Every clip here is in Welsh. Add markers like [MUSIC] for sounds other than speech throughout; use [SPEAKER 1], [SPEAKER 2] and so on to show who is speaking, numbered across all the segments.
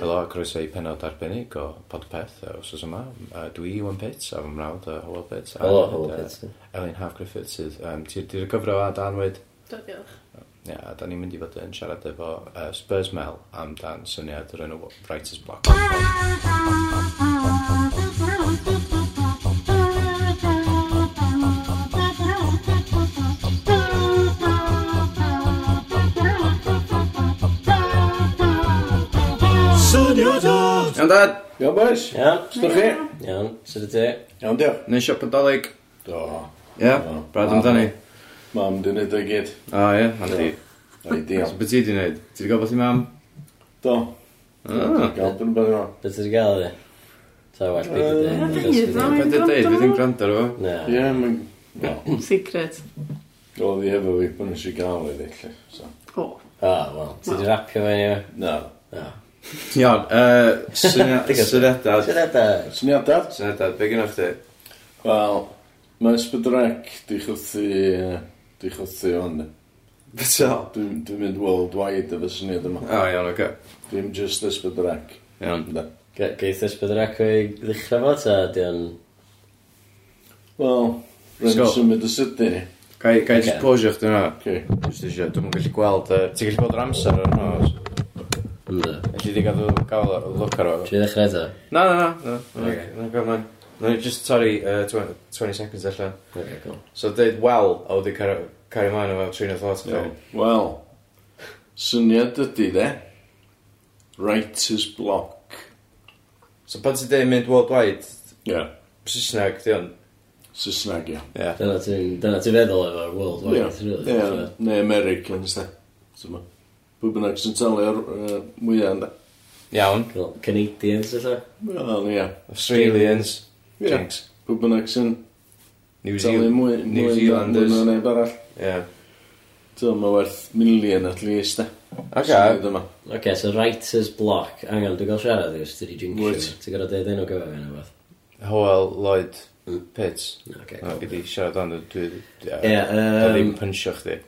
[SPEAKER 1] Helo, a croeso i penod arbennig o Podpeth yy wsos yma. Yy dwi Iwan Pits a fy mrawd yy Hywel Pits a...
[SPEAKER 2] Helo, Hywel Pits.
[SPEAKER 1] Yy Elin Haf Griffith sydd yym ti di'r gyfro a danwyd.
[SPEAKER 3] Do, diolch.
[SPEAKER 1] Ia, a da ni'n mynd i fod yn siarad efo yy Spurs Mel amdan syniad o'r enw Writer's Block.
[SPEAKER 4] Iawn dad,
[SPEAKER 5] Iawn boys,
[SPEAKER 2] Iawn,
[SPEAKER 5] sdwch chi?
[SPEAKER 2] iawn, sydd y ti?
[SPEAKER 5] Iawn diolch.
[SPEAKER 4] neu siop yn dolyg.
[SPEAKER 5] Do,
[SPEAKER 4] Ie, brad amdani.
[SPEAKER 5] mam dwi'n neud o i gyd.
[SPEAKER 4] O ie, handi.
[SPEAKER 5] Ideal.
[SPEAKER 4] So beth ti di wneud? Ti di gwybod beth i mam?
[SPEAKER 5] Do,
[SPEAKER 4] Ah,
[SPEAKER 5] gael byn byn yma.
[SPEAKER 2] Beth ti'n gael ydi? Ta well, beth
[SPEAKER 5] Yy,
[SPEAKER 2] ydi?
[SPEAKER 3] Na, fydd, na,
[SPEAKER 4] Beth i'n deud, beth i'n gwrando ar efo?
[SPEAKER 2] Na.
[SPEAKER 5] Ie, mae'n... Do,
[SPEAKER 3] Secret.
[SPEAKER 5] oedd i hefo fi, pan nes i gael ei ddillu. So.
[SPEAKER 3] O.
[SPEAKER 2] O, wel, ti di rapio fe ni?
[SPEAKER 5] Na.
[SPEAKER 2] Na.
[SPEAKER 4] Iawn, yy, syniad- syniadad.
[SPEAKER 2] Sydd ydi?
[SPEAKER 5] Syniad dad?
[SPEAKER 4] Syniadad, be gynnwch ti?
[SPEAKER 5] Wel, mae Ysbydrec di chwthu... yy, Di chwthu hwn.
[SPEAKER 4] Beth o?
[SPEAKER 5] Dwi'n dwi'n mynd worldwide efo syniad yma.
[SPEAKER 4] O iawn, oce.
[SPEAKER 5] Dwi'n just Ysbydrec.
[SPEAKER 4] Iawn.
[SPEAKER 5] Da.
[SPEAKER 2] Geith ysbydd yr acw i ddechrau fo, ta di o'n...
[SPEAKER 5] Wel, rwy'n
[SPEAKER 4] Sgol.
[SPEAKER 5] symud y sydyn ni.
[SPEAKER 4] Ga i ga i just
[SPEAKER 2] Ocê.
[SPEAKER 4] posio chdi hwnna?
[SPEAKER 5] Okay.
[SPEAKER 4] Just eisiau, dwi'n gallu gweld... yy, Ti'n gallu bod yr amser ar hwnnw?
[SPEAKER 2] Na.
[SPEAKER 4] Felly di gael gael o- look ar o.
[SPEAKER 2] Tri ddechrau eto?
[SPEAKER 4] Na, na, na, na. Okay. Na, gael mlaen. Na, ni just torri yy, 20 20 seconds allan.
[SPEAKER 2] Ok, cool.
[SPEAKER 4] So dweud well, a wedi cario mlaen efo train of thought. chdi.
[SPEAKER 5] Wel, syniad ydy de. Writer's block.
[SPEAKER 4] So pan ti'n dweud mynd worldwide,
[SPEAKER 5] Ie. Yeah.
[SPEAKER 4] Saesneg, di hwn?
[SPEAKER 5] Saesneg, ia.
[SPEAKER 4] Ie.
[SPEAKER 2] Dyna ti'n dyna ti'n feddwl efo'r world
[SPEAKER 5] Ie,
[SPEAKER 2] wide, really.
[SPEAKER 5] ie, neu Americans, da. Dyma. Pwy bynnag sy'n talu o'r yy, mwyaf, da.
[SPEAKER 4] Iawn.
[SPEAKER 2] Cool. Canadians, ydw?
[SPEAKER 5] Wel, ia.
[SPEAKER 4] Australians.
[SPEAKER 5] Ie.
[SPEAKER 4] Jinx.
[SPEAKER 5] Pwy bynnag sy'n
[SPEAKER 4] New
[SPEAKER 5] talu
[SPEAKER 4] Zealand.
[SPEAKER 5] mwy,
[SPEAKER 4] New
[SPEAKER 5] mwy
[SPEAKER 4] Zealanders.
[SPEAKER 5] mwy na neb arall.
[SPEAKER 4] Ie.
[SPEAKER 5] Dyma werth milion at least, da.
[SPEAKER 4] Ac
[SPEAKER 5] Dyma.
[SPEAKER 2] Ok, so writer's block. Angen, dwi'n gael siarad i os ti di jinxio.
[SPEAKER 5] Wyt.
[SPEAKER 2] Ti'n gorau deud enw gyfer fi neu beth?
[SPEAKER 4] Howell Lloyd Pitts.
[SPEAKER 2] Ok,
[SPEAKER 4] Na,
[SPEAKER 2] cool.
[SPEAKER 4] gyd i siarad ond dwi... Ie.
[SPEAKER 2] Ie,
[SPEAKER 4] Dwi ddim
[SPEAKER 2] yym,
[SPEAKER 4] pynsio chdi.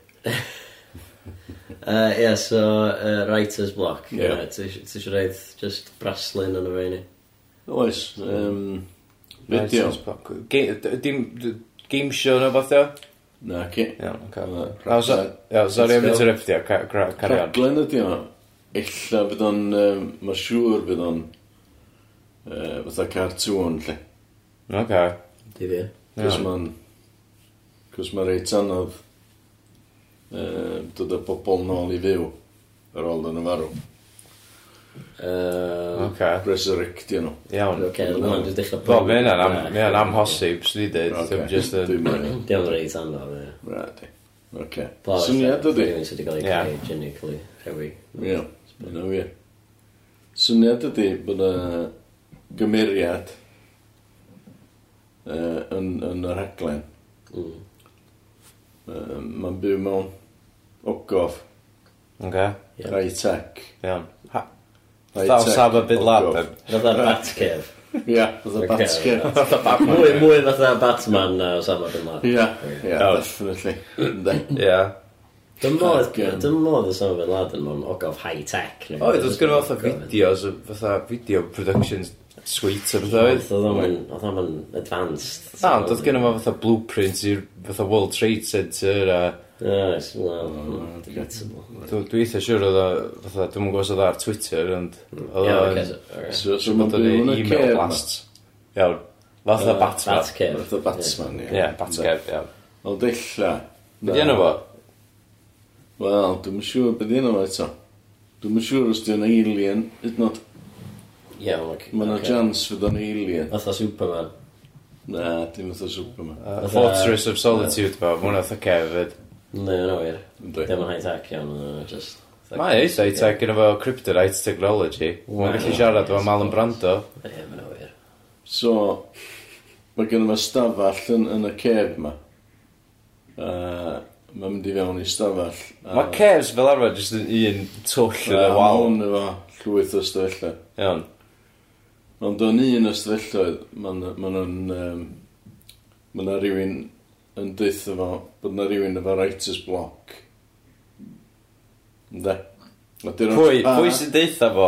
[SPEAKER 2] yy, ie, so yy, writer's block.
[SPEAKER 5] Ie.
[SPEAKER 2] Ie, Ti eisiau rhaid just braslun yn y fe ni?
[SPEAKER 5] Oes, yym, video.
[SPEAKER 4] Ga- d- Dim... d- Game show neu beth o?
[SPEAKER 5] Na, ci.
[SPEAKER 4] Iawn, oce.
[SPEAKER 5] Na,
[SPEAKER 4] Iawn, so- iawn, Sorry am
[SPEAKER 2] Let's go.
[SPEAKER 4] interruptio, ca- gra- carry on.
[SPEAKER 5] Rhaglen ydi o. Ella fydd o'n, yym, mae'n siŵr fydd o'n, yy, fatha cartoon, lle.
[SPEAKER 4] Oce.
[SPEAKER 2] Di fi.
[SPEAKER 5] Cos ma'n... Cos ma'n reit anodd uh, dod y bobl nôl i fyw ar ôl yn y farw.
[SPEAKER 2] Yy,
[SPEAKER 4] Oce.
[SPEAKER 5] Resurrectio nhw.
[SPEAKER 4] Iawn.
[SPEAKER 2] Ok, dwi'n dwi'n dechrau...
[SPEAKER 4] Wel, mae hynna'n am- mae hynna'n amhosib, swn i dweud.
[SPEAKER 5] Oce,
[SPEAKER 4] Ddim just yn...
[SPEAKER 5] Dwi'n mynd.
[SPEAKER 2] Di o'n reit anodd, ie.
[SPEAKER 5] Rhaid i. Oce.
[SPEAKER 2] Wel,
[SPEAKER 5] Syniad ydi.
[SPEAKER 2] Rhywun sydd wedi cael ei
[SPEAKER 4] Ie.
[SPEAKER 2] creu genetically heavy.
[SPEAKER 5] Ie. Yna fi. Syniad ydi bod y gymeriad uh, yn, yn y rhaglen.
[SPEAKER 2] Mm.
[SPEAKER 5] Uh, Mae'n byw mewn ogof,
[SPEAKER 4] Oce.
[SPEAKER 2] Ie.
[SPEAKER 5] high-tech.
[SPEAKER 4] Iawn. Thaw
[SPEAKER 5] high-tech
[SPEAKER 4] sab a byd lab. [LAUGHS]
[SPEAKER 5] ogof.
[SPEAKER 2] Fatha Batcave.
[SPEAKER 5] Ie, oedd y
[SPEAKER 2] Ocê,
[SPEAKER 5] basged.
[SPEAKER 2] Mwy, mwy fatha Batman na Osama Bin Laden.
[SPEAKER 5] Ie, ie,
[SPEAKER 4] Oh.
[SPEAKER 5] definitely. Yndi.
[SPEAKER 4] Ie.
[SPEAKER 2] Dyn modd,
[SPEAKER 5] Fucking-
[SPEAKER 2] dyn modd Osama Bin Laden mewn ogof high-tech. neu
[SPEAKER 4] Oedd,
[SPEAKER 2] beth.
[SPEAKER 4] oedd gynnu fatha videos, y- fatha video productions suite o beth oedd.
[SPEAKER 2] Oedd o'n oedd o'n advanced.
[SPEAKER 4] Na, Ah, ond oedd gynnu fatha blueprints i'r fatha World Trade Center a...
[SPEAKER 2] Oes, wel,
[SPEAKER 5] Oh, okay.
[SPEAKER 2] debatable.
[SPEAKER 4] Dw- Dwi eitha siŵr oedd o, fatha, dwi'n mwyn gwybod oedd o ar Twitter, ond... Oedd
[SPEAKER 2] Mm. Ie,
[SPEAKER 4] o
[SPEAKER 2] oce,
[SPEAKER 4] yn-
[SPEAKER 2] so- alright.
[SPEAKER 5] So, so
[SPEAKER 4] Dwi'n
[SPEAKER 5] mae'n
[SPEAKER 4] bod yn
[SPEAKER 5] byw yn y
[SPEAKER 4] email
[SPEAKER 5] cef.
[SPEAKER 4] blasts. Iawn. Fatha
[SPEAKER 2] Yy,
[SPEAKER 4] Batman.
[SPEAKER 2] Batcave.
[SPEAKER 5] Fath o Batman, ie.
[SPEAKER 4] Ie, Batcave, iawn.
[SPEAKER 5] O dilla.
[SPEAKER 4] Byddi enw fo?
[SPEAKER 5] Wel, dwi'n yn siŵr beth yna fo eto. Dwi'n yn siŵr os di'n alien, hyd not,
[SPEAKER 2] Ie, wel, oce.
[SPEAKER 5] mae yna
[SPEAKER 2] Oce.
[SPEAKER 5] jans fydd o'n alien.
[SPEAKER 2] Fatha Superman.
[SPEAKER 5] Na, dim oedd o Superman.
[SPEAKER 4] Uh,
[SPEAKER 2] Fatha-
[SPEAKER 4] Fortress of Solitude, fo, ma' hwnna fatha cefyd.
[SPEAKER 2] Ne, yna wir.
[SPEAKER 5] Yndi.
[SPEAKER 2] Dim yn high-tech iawn, yna just...
[SPEAKER 4] Mae e eitha eitha gyda fo Kryptonite Technology. Mae'n gallu siarad efo Malin Brando.
[SPEAKER 2] Ie, yna wir.
[SPEAKER 5] So, mae gen yma stafall yn, yn y cef yma. Uh, mae'n mynd i fewn i stafall.
[SPEAKER 4] Mae cefs fel arfer jyst yn un twll yn y
[SPEAKER 5] Mae
[SPEAKER 4] wal.
[SPEAKER 5] hwn efo llwyth o stafellau.
[SPEAKER 4] Iawn.
[SPEAKER 5] Ond o'n un ystafelloedd, ma'n nhw'n... Um, ma' na rywun yn deutho fo bod na rywun efo writer's block. Ynde?
[SPEAKER 4] Ah. Pwy, pwy sy'n deitha fo?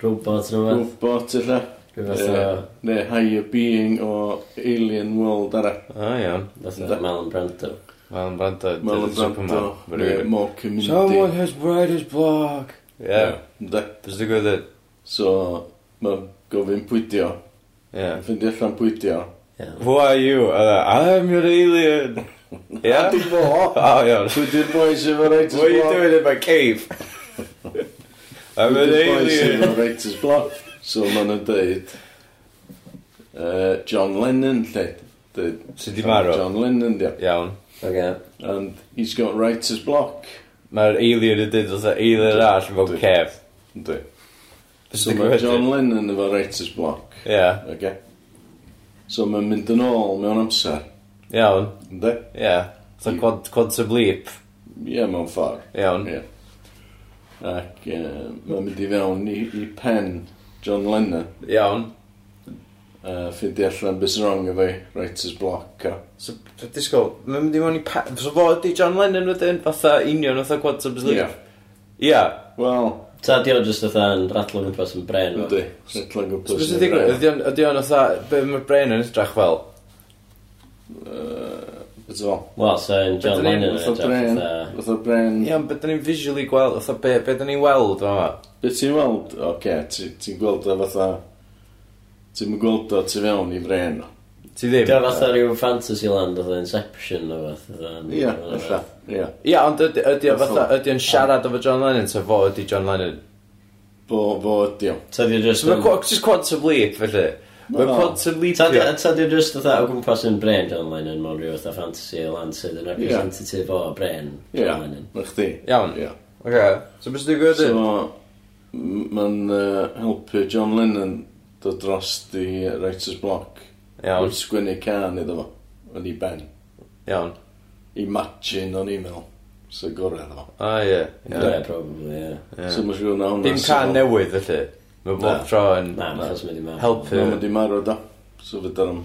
[SPEAKER 2] Robot yn yma.
[SPEAKER 5] Robot illa.
[SPEAKER 2] Rhyw fath o...
[SPEAKER 5] Yy, Neu higher being o Alien World ara.
[SPEAKER 4] O iawn.
[SPEAKER 2] Fath o Malin Brando.
[SPEAKER 4] Wel, yn brando.
[SPEAKER 5] Mel yn brando. Neu
[SPEAKER 4] Superman.
[SPEAKER 5] more community.
[SPEAKER 4] has bright as block. Ie.
[SPEAKER 5] Ynde?
[SPEAKER 4] Fes di gwybod
[SPEAKER 5] So, mae gofyn pwydio.
[SPEAKER 4] Ie.
[SPEAKER 5] Yn ffindi allan pwydio.
[SPEAKER 2] Iawn.
[SPEAKER 4] Who are you? A dda, I'm your alien.
[SPEAKER 5] A
[SPEAKER 4] Ie?
[SPEAKER 5] dim fo! [LAUGHS]
[SPEAKER 4] O iawn.
[SPEAKER 5] Pwy di'r boys efo writer's
[SPEAKER 4] What are you
[SPEAKER 5] block?
[SPEAKER 4] doing in my cave? I'm
[SPEAKER 5] Pwy
[SPEAKER 4] an
[SPEAKER 5] di'r boys
[SPEAKER 4] alien.
[SPEAKER 5] efo writer's block? So, ma'n nhw'n deud... yy, John Lennon, lle. Deud,
[SPEAKER 4] Sy 'di marw.
[SPEAKER 5] John Lennon, dia.
[SPEAKER 4] Iawn.
[SPEAKER 2] Oce.
[SPEAKER 5] And he's got writer's block.
[SPEAKER 4] Mae'r alien yn dweud oedd alien arall mewn
[SPEAKER 5] Dwi-
[SPEAKER 4] cef.
[SPEAKER 5] Ynddi.
[SPEAKER 4] Fes
[SPEAKER 5] So,
[SPEAKER 4] di
[SPEAKER 5] mae
[SPEAKER 4] gwybod
[SPEAKER 5] John
[SPEAKER 4] hyn?
[SPEAKER 5] Lennon efo writer's block.
[SPEAKER 4] Ie.
[SPEAKER 5] Okay. So, mae'n mynd yn ôl mewn amser.
[SPEAKER 4] Iawn.
[SPEAKER 5] Ynddi?
[SPEAKER 4] Ie. So quant- quantum leap.
[SPEAKER 5] Ie, mewn ffordd.
[SPEAKER 4] Iawn.
[SPEAKER 5] Ie. Ac yy, mae'n mynd i fewn i, i pen John Lennon
[SPEAKER 4] Iawn.
[SPEAKER 5] a ffindi allan beth sy'n wrong efo ei writer's block a
[SPEAKER 4] So, dwi'n disgwyl, mae'n mynd i mewn i pa... So fo ydi John Lennon wedyn, fatha union, fatha Quantum Leap?
[SPEAKER 5] Ie.
[SPEAKER 4] Ia.
[SPEAKER 5] Wel,
[SPEAKER 2] Ta di o jyst fatha yn ratlo gwmpas yn bren. fo?
[SPEAKER 5] ydy, rhedlan
[SPEAKER 4] So
[SPEAKER 5] gwybod
[SPEAKER 4] beth sy'n digwydd? Ydi o'n- Ydi o'n fatha, be mae'r brain yn edrych fel?
[SPEAKER 5] Beth o?
[SPEAKER 2] Wel, so yn John
[SPEAKER 4] Ydyn ni-
[SPEAKER 2] Lennon yn
[SPEAKER 5] Fytho
[SPEAKER 2] edrych
[SPEAKER 5] bren,
[SPEAKER 2] fatha...
[SPEAKER 5] fytho bren,
[SPEAKER 4] Ia, ond beth da ni'n visually gweld, fatha be, be da ni'n weld fama?
[SPEAKER 5] beth ti'n weld? Oce, ti- ti'n gweld o fatha, ti'n mynd gweld o tu fewn i bren o.
[SPEAKER 4] Ti
[SPEAKER 2] Di o
[SPEAKER 4] ddim?
[SPEAKER 2] fatha rhyw fantasy land oedd Inception o fath. fatha-
[SPEAKER 5] Ie, alla, ie.
[SPEAKER 4] Ia, ond ydi ydi o fatha,
[SPEAKER 5] Hollol.
[SPEAKER 4] ydi o'n siarad efo John Lennon, so fo ydi John Lennon.
[SPEAKER 5] Bo, bo ydi o.
[SPEAKER 2] Ta di o jyst...
[SPEAKER 4] So mae qu- just Quantum Leap, felly. Mae
[SPEAKER 5] Wel.
[SPEAKER 4] Quantum Leap...
[SPEAKER 2] Ta di- ta di o jyst fatha o gwmpas yn bren John Lennon mewn rhyw fatha fantasy land sydd yn representative o bren
[SPEAKER 5] Ie,
[SPEAKER 2] John Lennon.
[SPEAKER 5] na chdi.
[SPEAKER 4] Iawn.
[SPEAKER 5] Ie.
[SPEAKER 4] Oce. So beth sy'n digwydd?
[SPEAKER 5] So, m- ma'n yy, helpu John Lennon dod dros di writer's block.
[SPEAKER 4] Iawn,
[SPEAKER 5] Wrth sgwynnu can iddo fo, yn ei ben.
[SPEAKER 4] iawn.
[SPEAKER 5] I matchin o'n e-mail. So gorau iddo fo.
[SPEAKER 4] O, ie.
[SPEAKER 2] Ie,
[SPEAKER 4] ie,
[SPEAKER 2] probably, ie.
[SPEAKER 4] ie.
[SPEAKER 5] So mae'n siŵr na hwnna.
[SPEAKER 4] Dim can newydd, felly. Mae
[SPEAKER 5] Na.
[SPEAKER 4] bob tro yn...
[SPEAKER 2] Na, achos mae di marw.
[SPEAKER 4] Helpu.
[SPEAKER 5] Mae wedi marw da. So fydda nhw'n...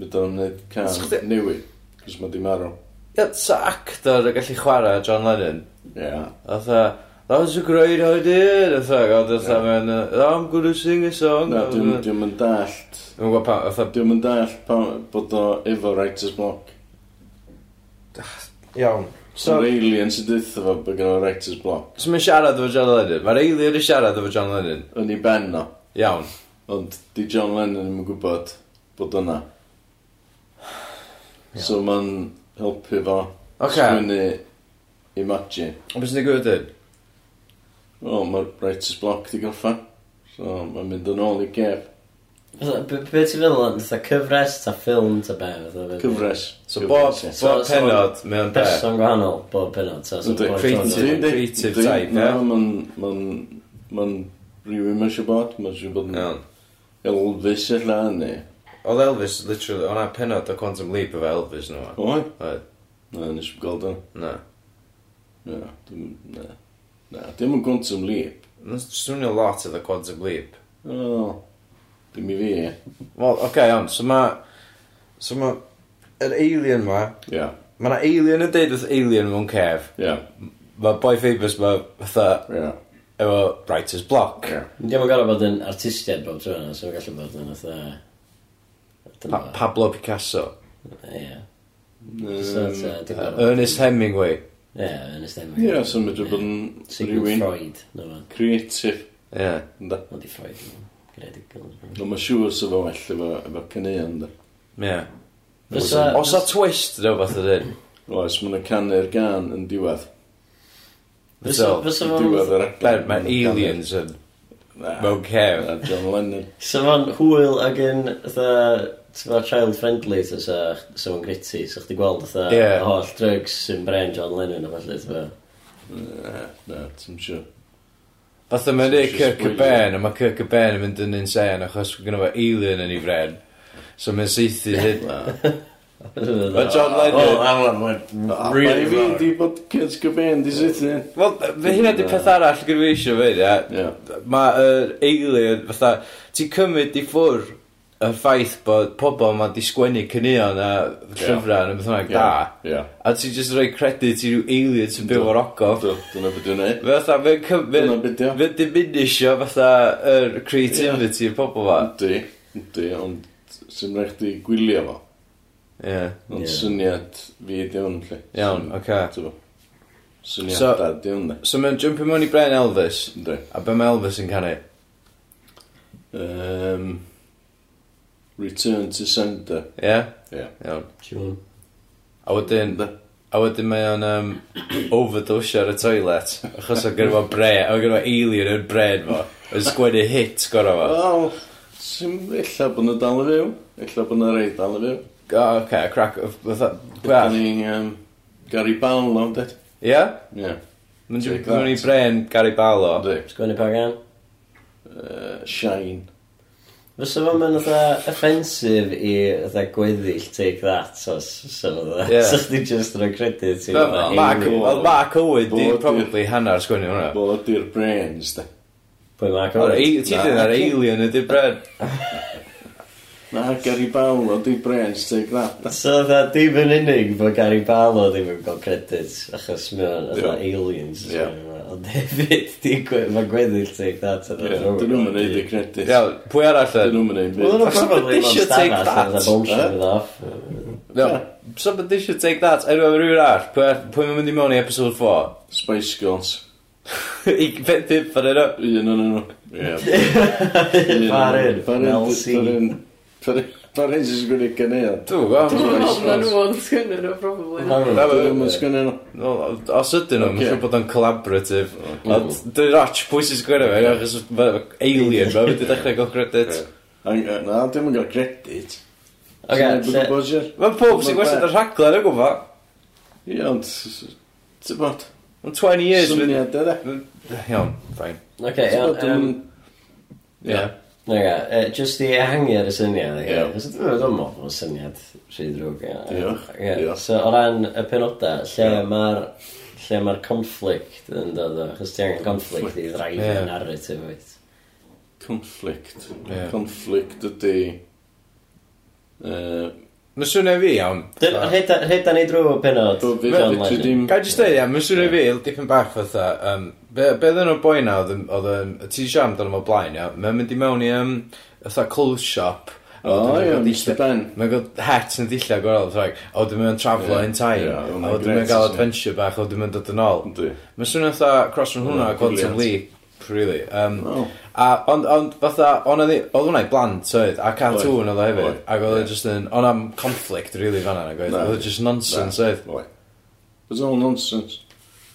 [SPEAKER 5] Fydda nhw'n neud
[SPEAKER 4] Os
[SPEAKER 5] can
[SPEAKER 4] chdi-
[SPEAKER 5] newid. Cos mae wedi marw.
[SPEAKER 4] Ie, sa actor y gallu chwarae John Lennon.
[SPEAKER 5] Ie.
[SPEAKER 4] Otha, that was a great idea. Otha, ond otha, mae'n, uh, I'm gonna sing a song.
[SPEAKER 5] Na,
[SPEAKER 4] Dwi'n
[SPEAKER 5] dwi'n yn dallt.
[SPEAKER 4] gwybod pa, otha,
[SPEAKER 5] Dwi'n yn dallt pam bod o efo writer's block.
[SPEAKER 4] iawn. So,
[SPEAKER 5] So'r alien sy'n dweud fo bod gen o writer's block.
[SPEAKER 4] so mae'n siarad efo John Lennon. Mae'r alien yn siarad efo John Lennon.
[SPEAKER 5] Yn ei ben o.
[SPEAKER 4] Iawn.
[SPEAKER 5] Ond di John Lennon ddim yn gwybod bod
[SPEAKER 4] [SIGHS]
[SPEAKER 5] yna. So ma'n helpu fo.
[SPEAKER 4] Ocê.
[SPEAKER 5] Sgwynnu imagine.
[SPEAKER 4] Ond beth sy'n digwydd ydyn?
[SPEAKER 5] O, mae'r writer's block di gorffan. So ma'n mynd yn ôl i gef.
[SPEAKER 2] Fatha, be- Be ti'n feddwl ond? Fatha cyfres, ta ffilm, ta be? fatha be-
[SPEAKER 5] Cyfres.
[SPEAKER 4] So bob,
[SPEAKER 5] Cyfres, ie.
[SPEAKER 2] So-
[SPEAKER 4] bob
[SPEAKER 2] so-
[SPEAKER 4] penod, mae o'n be.
[SPEAKER 2] Person gwahanol, bob penod. ta, so
[SPEAKER 5] Yndi.
[SPEAKER 2] bob
[SPEAKER 4] Creative.
[SPEAKER 2] tro-
[SPEAKER 5] Yndi, yndi.
[SPEAKER 4] creative
[SPEAKER 5] Yndi.
[SPEAKER 4] type,
[SPEAKER 5] Na,
[SPEAKER 4] ie.
[SPEAKER 5] ma'n... Ma'n... Ma'n... Rwy'n mynd siw bod. Ma'n siw bod yn...
[SPEAKER 4] Iawn.
[SPEAKER 5] Elvis illa ni.
[SPEAKER 4] Oedd Elvis, literally, o'na penod o Quantum Leap efo Elvis nhw.
[SPEAKER 5] Oi?
[SPEAKER 4] Oedd,
[SPEAKER 5] Na, nes i'n gweld o'n.
[SPEAKER 4] na.
[SPEAKER 5] Na, dim... Na. Na, dim yn gwntym leap.
[SPEAKER 4] Mae'n swnio lot efo Quantum Leap.
[SPEAKER 5] O. Dim i fi, ie.
[SPEAKER 4] Wel, oce, okay, iawn, so mae, so mae, yr alien ma,
[SPEAKER 5] Ie.
[SPEAKER 4] Mae yna alien yn deud wrth alien mewn cef.
[SPEAKER 5] Ie.
[SPEAKER 4] Mae boi famous ma fatha
[SPEAKER 5] Ie.
[SPEAKER 4] efo writer's block.
[SPEAKER 5] Ie.
[SPEAKER 2] Dim yn gorfod bod yn artistiaid bob tro yna, so mae'n gallu bod yn fatha...
[SPEAKER 4] Pa
[SPEAKER 2] Dyna-
[SPEAKER 4] Pablo Picasso.
[SPEAKER 2] Ie. So,
[SPEAKER 5] Yym,
[SPEAKER 2] ta, dim
[SPEAKER 4] Uh,
[SPEAKER 2] gorfod-
[SPEAKER 4] Ernest Hemingway.
[SPEAKER 2] Ie, yn ystod.
[SPEAKER 5] Ie, so medru bod yn
[SPEAKER 2] Sigmund
[SPEAKER 5] rhywun
[SPEAKER 2] Freud, no fan.
[SPEAKER 5] creative.
[SPEAKER 4] Ie. Yeah.
[SPEAKER 5] Ynda.
[SPEAKER 2] Ond i Freud, gredigol.
[SPEAKER 5] No, mae siŵr sy'n fo well efo, efo cynnig ynda.
[SPEAKER 4] Yeah.
[SPEAKER 2] Fysa...
[SPEAKER 4] Os a twist, no, fath ydyn.
[SPEAKER 5] Oes, mae'n canu'r gan yn diwedd.
[SPEAKER 2] Fysa...
[SPEAKER 4] Fysa-
[SPEAKER 2] Fysa
[SPEAKER 5] Diwedd
[SPEAKER 2] fo'n...
[SPEAKER 5] yr
[SPEAKER 4] Ben, Ah. mae aliens yn
[SPEAKER 5] Mewn
[SPEAKER 4] mewn cef.
[SPEAKER 5] Na, John Lennon.
[SPEAKER 2] Fysa fo'n hwyl ag yn, fatha... Tyfa child friendly, tysa... Fysa fo'n gritty, so chdi gweld, fatha...
[SPEAKER 4] Ie.
[SPEAKER 2] y Holl drugs sy'n bren John Lennon, o falle, [LAUGHS] tyfa.
[SPEAKER 5] Na, na, ti'n siŵr.
[SPEAKER 4] Fath yma ni
[SPEAKER 5] Just
[SPEAKER 4] Kirk
[SPEAKER 5] spoiler.
[SPEAKER 4] Cobain, a mae Kirk Cobain yn mynd yn insane achos gyda fo alien yn ei fren. So mae'n seithi hyn. [LAUGHS] Oh, Mae John Lennon...
[SPEAKER 5] Really fi di bod Kids Cobain di suthu.
[SPEAKER 4] Wel, fe hynna di peth arall gyda fi eisiau fe, ia.
[SPEAKER 5] Ie.
[SPEAKER 4] Mae yr alien, fatha, ti'n cymryd i ffwr y ffaith bod pobl ma'n disgwennu cynnion a llyfrau yn y beth yna da.
[SPEAKER 5] Ie.
[SPEAKER 4] A ti jyst rhoi credit i rhyw alien sy'n byw o'r ogof.
[SPEAKER 5] Dw- Dyna beth dwi'n neud.
[SPEAKER 4] Fe fatha, fe'n cy-
[SPEAKER 5] Dyna
[SPEAKER 4] fe'n-
[SPEAKER 5] beth ydi o.
[SPEAKER 4] fe'n diminisio fatha yr creativity y pobl fa.
[SPEAKER 5] Yndi, yndi, ond sy'n rhaid chdi gwylio fo.
[SPEAKER 4] Ie.
[SPEAKER 5] Ond
[SPEAKER 2] Ie.
[SPEAKER 5] syniad fi ydi hwn, lle.
[SPEAKER 4] Iawn, oce.
[SPEAKER 5] Ti'n bo.
[SPEAKER 4] So-
[SPEAKER 5] Syniad da ydi hwn, ne.
[SPEAKER 4] So mae'n jumping mewn i Bren Elvis.
[SPEAKER 5] Yndi.
[SPEAKER 4] A be mae Elvis yn canu?
[SPEAKER 5] Um, Return to Sender.
[SPEAKER 4] Ie?
[SPEAKER 5] Ie.
[SPEAKER 4] Iawn.
[SPEAKER 2] Siwn.
[SPEAKER 4] A wedyn, a wedyn mae o'n um, overdose ar y toilet. Achos o'n gyrfa bre, o'n gyrfa alien yn bren fo. Yn sgwennu hit gorau fo.
[SPEAKER 5] Wel, sy'n illa bod nhw dal y fyw. Illa bod nhw rei dal y fyw.
[SPEAKER 4] O, oce, crack, fatha,
[SPEAKER 5] Da
[SPEAKER 4] bach.
[SPEAKER 5] ni um, Gary Barlow, dweud.
[SPEAKER 4] Ie?
[SPEAKER 5] Ie.
[SPEAKER 4] Mae'n
[SPEAKER 5] Take
[SPEAKER 4] jumping mewn i
[SPEAKER 5] that.
[SPEAKER 4] bren Gary Barlow.
[SPEAKER 5] Ynddi.
[SPEAKER 2] Sgwini pa gan?
[SPEAKER 5] Uh, Shine.
[SPEAKER 2] Fysa fo'n mynd oedd offensif i oedd gweddill take that os [LAUGHS] so oedd
[SPEAKER 4] Ie.
[SPEAKER 2] Sa chdi just rhoi credit i
[SPEAKER 4] Fel
[SPEAKER 2] fatha
[SPEAKER 4] Mark,
[SPEAKER 2] alien.
[SPEAKER 4] well, Mark Owen di
[SPEAKER 5] Bod i-
[SPEAKER 4] probably hanner sgwennu hwnna.
[SPEAKER 5] Bod i'r brains, de.
[SPEAKER 2] Pwy Mark
[SPEAKER 4] O'r
[SPEAKER 2] Owen?
[SPEAKER 4] ei- Ti dyn ar alien ydy'r bren.
[SPEAKER 5] Na, Gary Barlow, di brains, take that. de.
[SPEAKER 2] So oedd dim yn unig bod Gary Barlow ddim yn cael credit achos mae'n oedd aliens
[SPEAKER 5] Ie.
[SPEAKER 2] ond hefyd [LAUGHS] di gwe- mae gweddill take that oedd
[SPEAKER 5] Ie, Dyn nhw'n neud y credit.
[SPEAKER 4] Iawn, pwy arall
[SPEAKER 5] Dyn
[SPEAKER 4] yn?
[SPEAKER 5] nhw'n neud
[SPEAKER 2] Wel,
[SPEAKER 5] byd.
[SPEAKER 2] nhw'n probably
[SPEAKER 4] Somebody
[SPEAKER 2] mewn
[SPEAKER 4] should take
[SPEAKER 2] stafell
[SPEAKER 4] that.
[SPEAKER 2] oedd bullshit
[SPEAKER 5] Huh?
[SPEAKER 2] with off.
[SPEAKER 4] No, somebody should take that. Anyway, mae rhywun arall. Pwy, pwy mae'n mynd i mewn i episode 4?
[SPEAKER 5] Spice Girls.
[SPEAKER 4] [LAUGHS] I pip pip fan yno.
[SPEAKER 5] Un o'n nhw. Ie.
[SPEAKER 2] Farin,
[SPEAKER 5] Farin,
[SPEAKER 2] Mel C.
[SPEAKER 5] Farin. Farin, Farin sy'n sgwneud gynnydd.
[SPEAKER 4] Dwi'n gwybod.
[SPEAKER 5] Dwi'n
[SPEAKER 3] Dwi'n
[SPEAKER 5] meddwl
[SPEAKER 3] meddwl na
[SPEAKER 5] Spice
[SPEAKER 3] nhw yn sgynnu nhw, probably.
[SPEAKER 2] Probably.
[SPEAKER 5] Dwi'n mynd sgwneud nhw.
[SPEAKER 4] Os ydyn nhw, mae'n
[SPEAKER 5] Ocê.
[SPEAKER 4] siŵr bod o'n collaborative. Ond dwi'n ratch pwy sy'n sgwyrra fe, achos mae alien, mae'n wedi dechrau gael credit.
[SPEAKER 5] Ang- yy, Na, dim yn gael credit.
[SPEAKER 2] Ok, lle-
[SPEAKER 4] Mae pob sy'n gwestiwn y rhaglen yn gwybod.
[SPEAKER 5] Ie, ond... s- s- Ti'n bod?
[SPEAKER 4] Yn 20 years. fydd-
[SPEAKER 5] Syniad yna.
[SPEAKER 4] Iawn, fain.
[SPEAKER 2] Ok,
[SPEAKER 5] Ti'n
[SPEAKER 2] iawn,
[SPEAKER 5] bod yn...
[SPEAKER 2] yym, ok, yy, just uh, i ehangu ar y syniad, ie.
[SPEAKER 5] Ie.
[SPEAKER 2] Cos dwi'n meddwl bod o'n syniad rhy ddrwg, ie.
[SPEAKER 5] Diolch,
[SPEAKER 2] Ie,
[SPEAKER 5] diolch.
[SPEAKER 2] So, o ran y penoda, lle
[SPEAKER 5] Ie.
[SPEAKER 2] mae'r lle mae'r conflict yn dod o, achos ti angen conflict i ddraifio
[SPEAKER 4] Ie.
[SPEAKER 2] yeah. narrative oed.
[SPEAKER 5] Conflict.
[SPEAKER 4] Ie.
[SPEAKER 5] Conflict ydi... Yy,
[SPEAKER 4] Mae'n swnio i fi iawn.
[SPEAKER 2] Rhaid ni drwy penod.
[SPEAKER 5] Bo- fi-
[SPEAKER 2] John
[SPEAKER 5] fi- dwi
[SPEAKER 2] Lennon.
[SPEAKER 5] dim-
[SPEAKER 4] Ga i jyst dweud, ia, mae'n swnio i fi, dipyn bach fatha, um, be ddyn nhw'r boi na, oedd yn- oedd yn, ti siam dan yma blaen, ia, mae'n mynd i mewn i, um, fatha clothes shop. a
[SPEAKER 5] O,
[SPEAKER 4] wedyn ma'n
[SPEAKER 5] ie,
[SPEAKER 4] cael
[SPEAKER 5] Mr
[SPEAKER 4] dillad-
[SPEAKER 5] Ben.
[SPEAKER 4] Mae'n gael het yn ddillio gorau, ffrag, a wedyn mae'n traflo
[SPEAKER 5] Ie,
[SPEAKER 4] yn time,
[SPEAKER 5] ie,
[SPEAKER 4] a
[SPEAKER 5] hwnna'n
[SPEAKER 4] wedyn mae'n
[SPEAKER 5] grêt,
[SPEAKER 4] gael
[SPEAKER 5] isn't it?
[SPEAKER 4] adventure bach, a wedyn mae'n dod yn ôl.
[SPEAKER 5] Yndi.
[SPEAKER 4] Mae'n swnio fatha cross from hwnna,
[SPEAKER 5] Hwnna'n
[SPEAKER 4] Quantum
[SPEAKER 5] brilliant.
[SPEAKER 4] Leap, really. Um,
[SPEAKER 5] O.
[SPEAKER 4] a, ond, ond, fatha, o'n oedd hwnna i blant, oedd, a cartoon oedd o hefyd,
[SPEAKER 5] Oedd.
[SPEAKER 4] ac oedd o just yn, o'n am conflict, really, fan'na, ac oedd,
[SPEAKER 5] Na.
[SPEAKER 4] oedd o just nonsense, oedd.
[SPEAKER 5] Oi. It's all nonsense.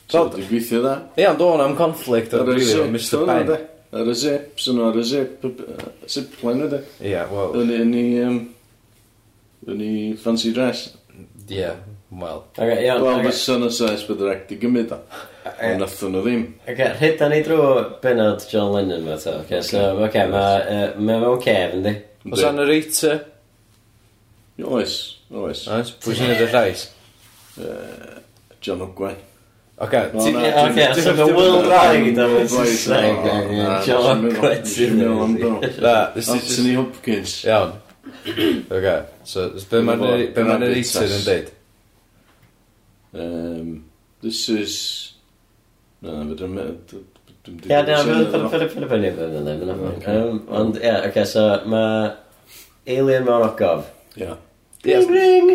[SPEAKER 5] So,
[SPEAKER 4] Wel-
[SPEAKER 5] di gweithio dda.
[SPEAKER 4] Ie, ond o'n am conflict o'r rili o
[SPEAKER 5] zips,
[SPEAKER 4] Mr
[SPEAKER 5] hwnna,
[SPEAKER 4] Ben.
[SPEAKER 5] de. Ar y zip, sy'n ar y zip, yy, zipline ydy.
[SPEAKER 4] Ie, wel,
[SPEAKER 5] Yn i, yn i, yym, yn i fancy dress.
[SPEAKER 4] ie, wel.
[SPEAKER 2] Oce, iawn,
[SPEAKER 5] Wel,
[SPEAKER 2] oce.
[SPEAKER 5] fysa na sais bydd rhaid i gymryd o.
[SPEAKER 2] Ie.
[SPEAKER 5] Ond nath nhw ddim.
[SPEAKER 2] Oce, rhaid ni drwy benod John Lennon fe to. Oce, so, oce, mae mewn cef, yndi?
[SPEAKER 4] Os o'n yr eita,
[SPEAKER 5] Yndi. Oes, oes.
[SPEAKER 4] oes, pwy sy'n edrych llais?
[SPEAKER 5] John Ogwen.
[SPEAKER 4] Oce, ti...
[SPEAKER 5] na,
[SPEAKER 2] Ie, Oce,
[SPEAKER 4] ti-
[SPEAKER 2] so
[SPEAKER 4] ti-
[SPEAKER 2] mae
[SPEAKER 4] ti-
[SPEAKER 2] Will Wright am y
[SPEAKER 5] Will Wright,
[SPEAKER 2] Saesneg.
[SPEAKER 5] o,
[SPEAKER 2] ie,
[SPEAKER 5] na,
[SPEAKER 2] John
[SPEAKER 5] dwi'n meddwl- dwi'n
[SPEAKER 2] Quentin.
[SPEAKER 5] meddwl
[SPEAKER 4] [LAUGHS]
[SPEAKER 5] amdano.
[SPEAKER 4] Na, nes ti
[SPEAKER 5] Anthony Hopkins.
[SPEAKER 4] jyst- Iawn. Oce, so, s- be ma'n yr- be ma'n yr eita yn dweud?
[SPEAKER 5] Um, this is... Na, na, fydrwn meddwl...
[SPEAKER 2] Ie, na, fydd yn ffynu penny fe fydd yn
[SPEAKER 5] Oce.
[SPEAKER 2] ymwneud. Ond, ie, oce, so mae Alien mewn ogof.
[SPEAKER 5] Ia.
[SPEAKER 2] Ring, ring!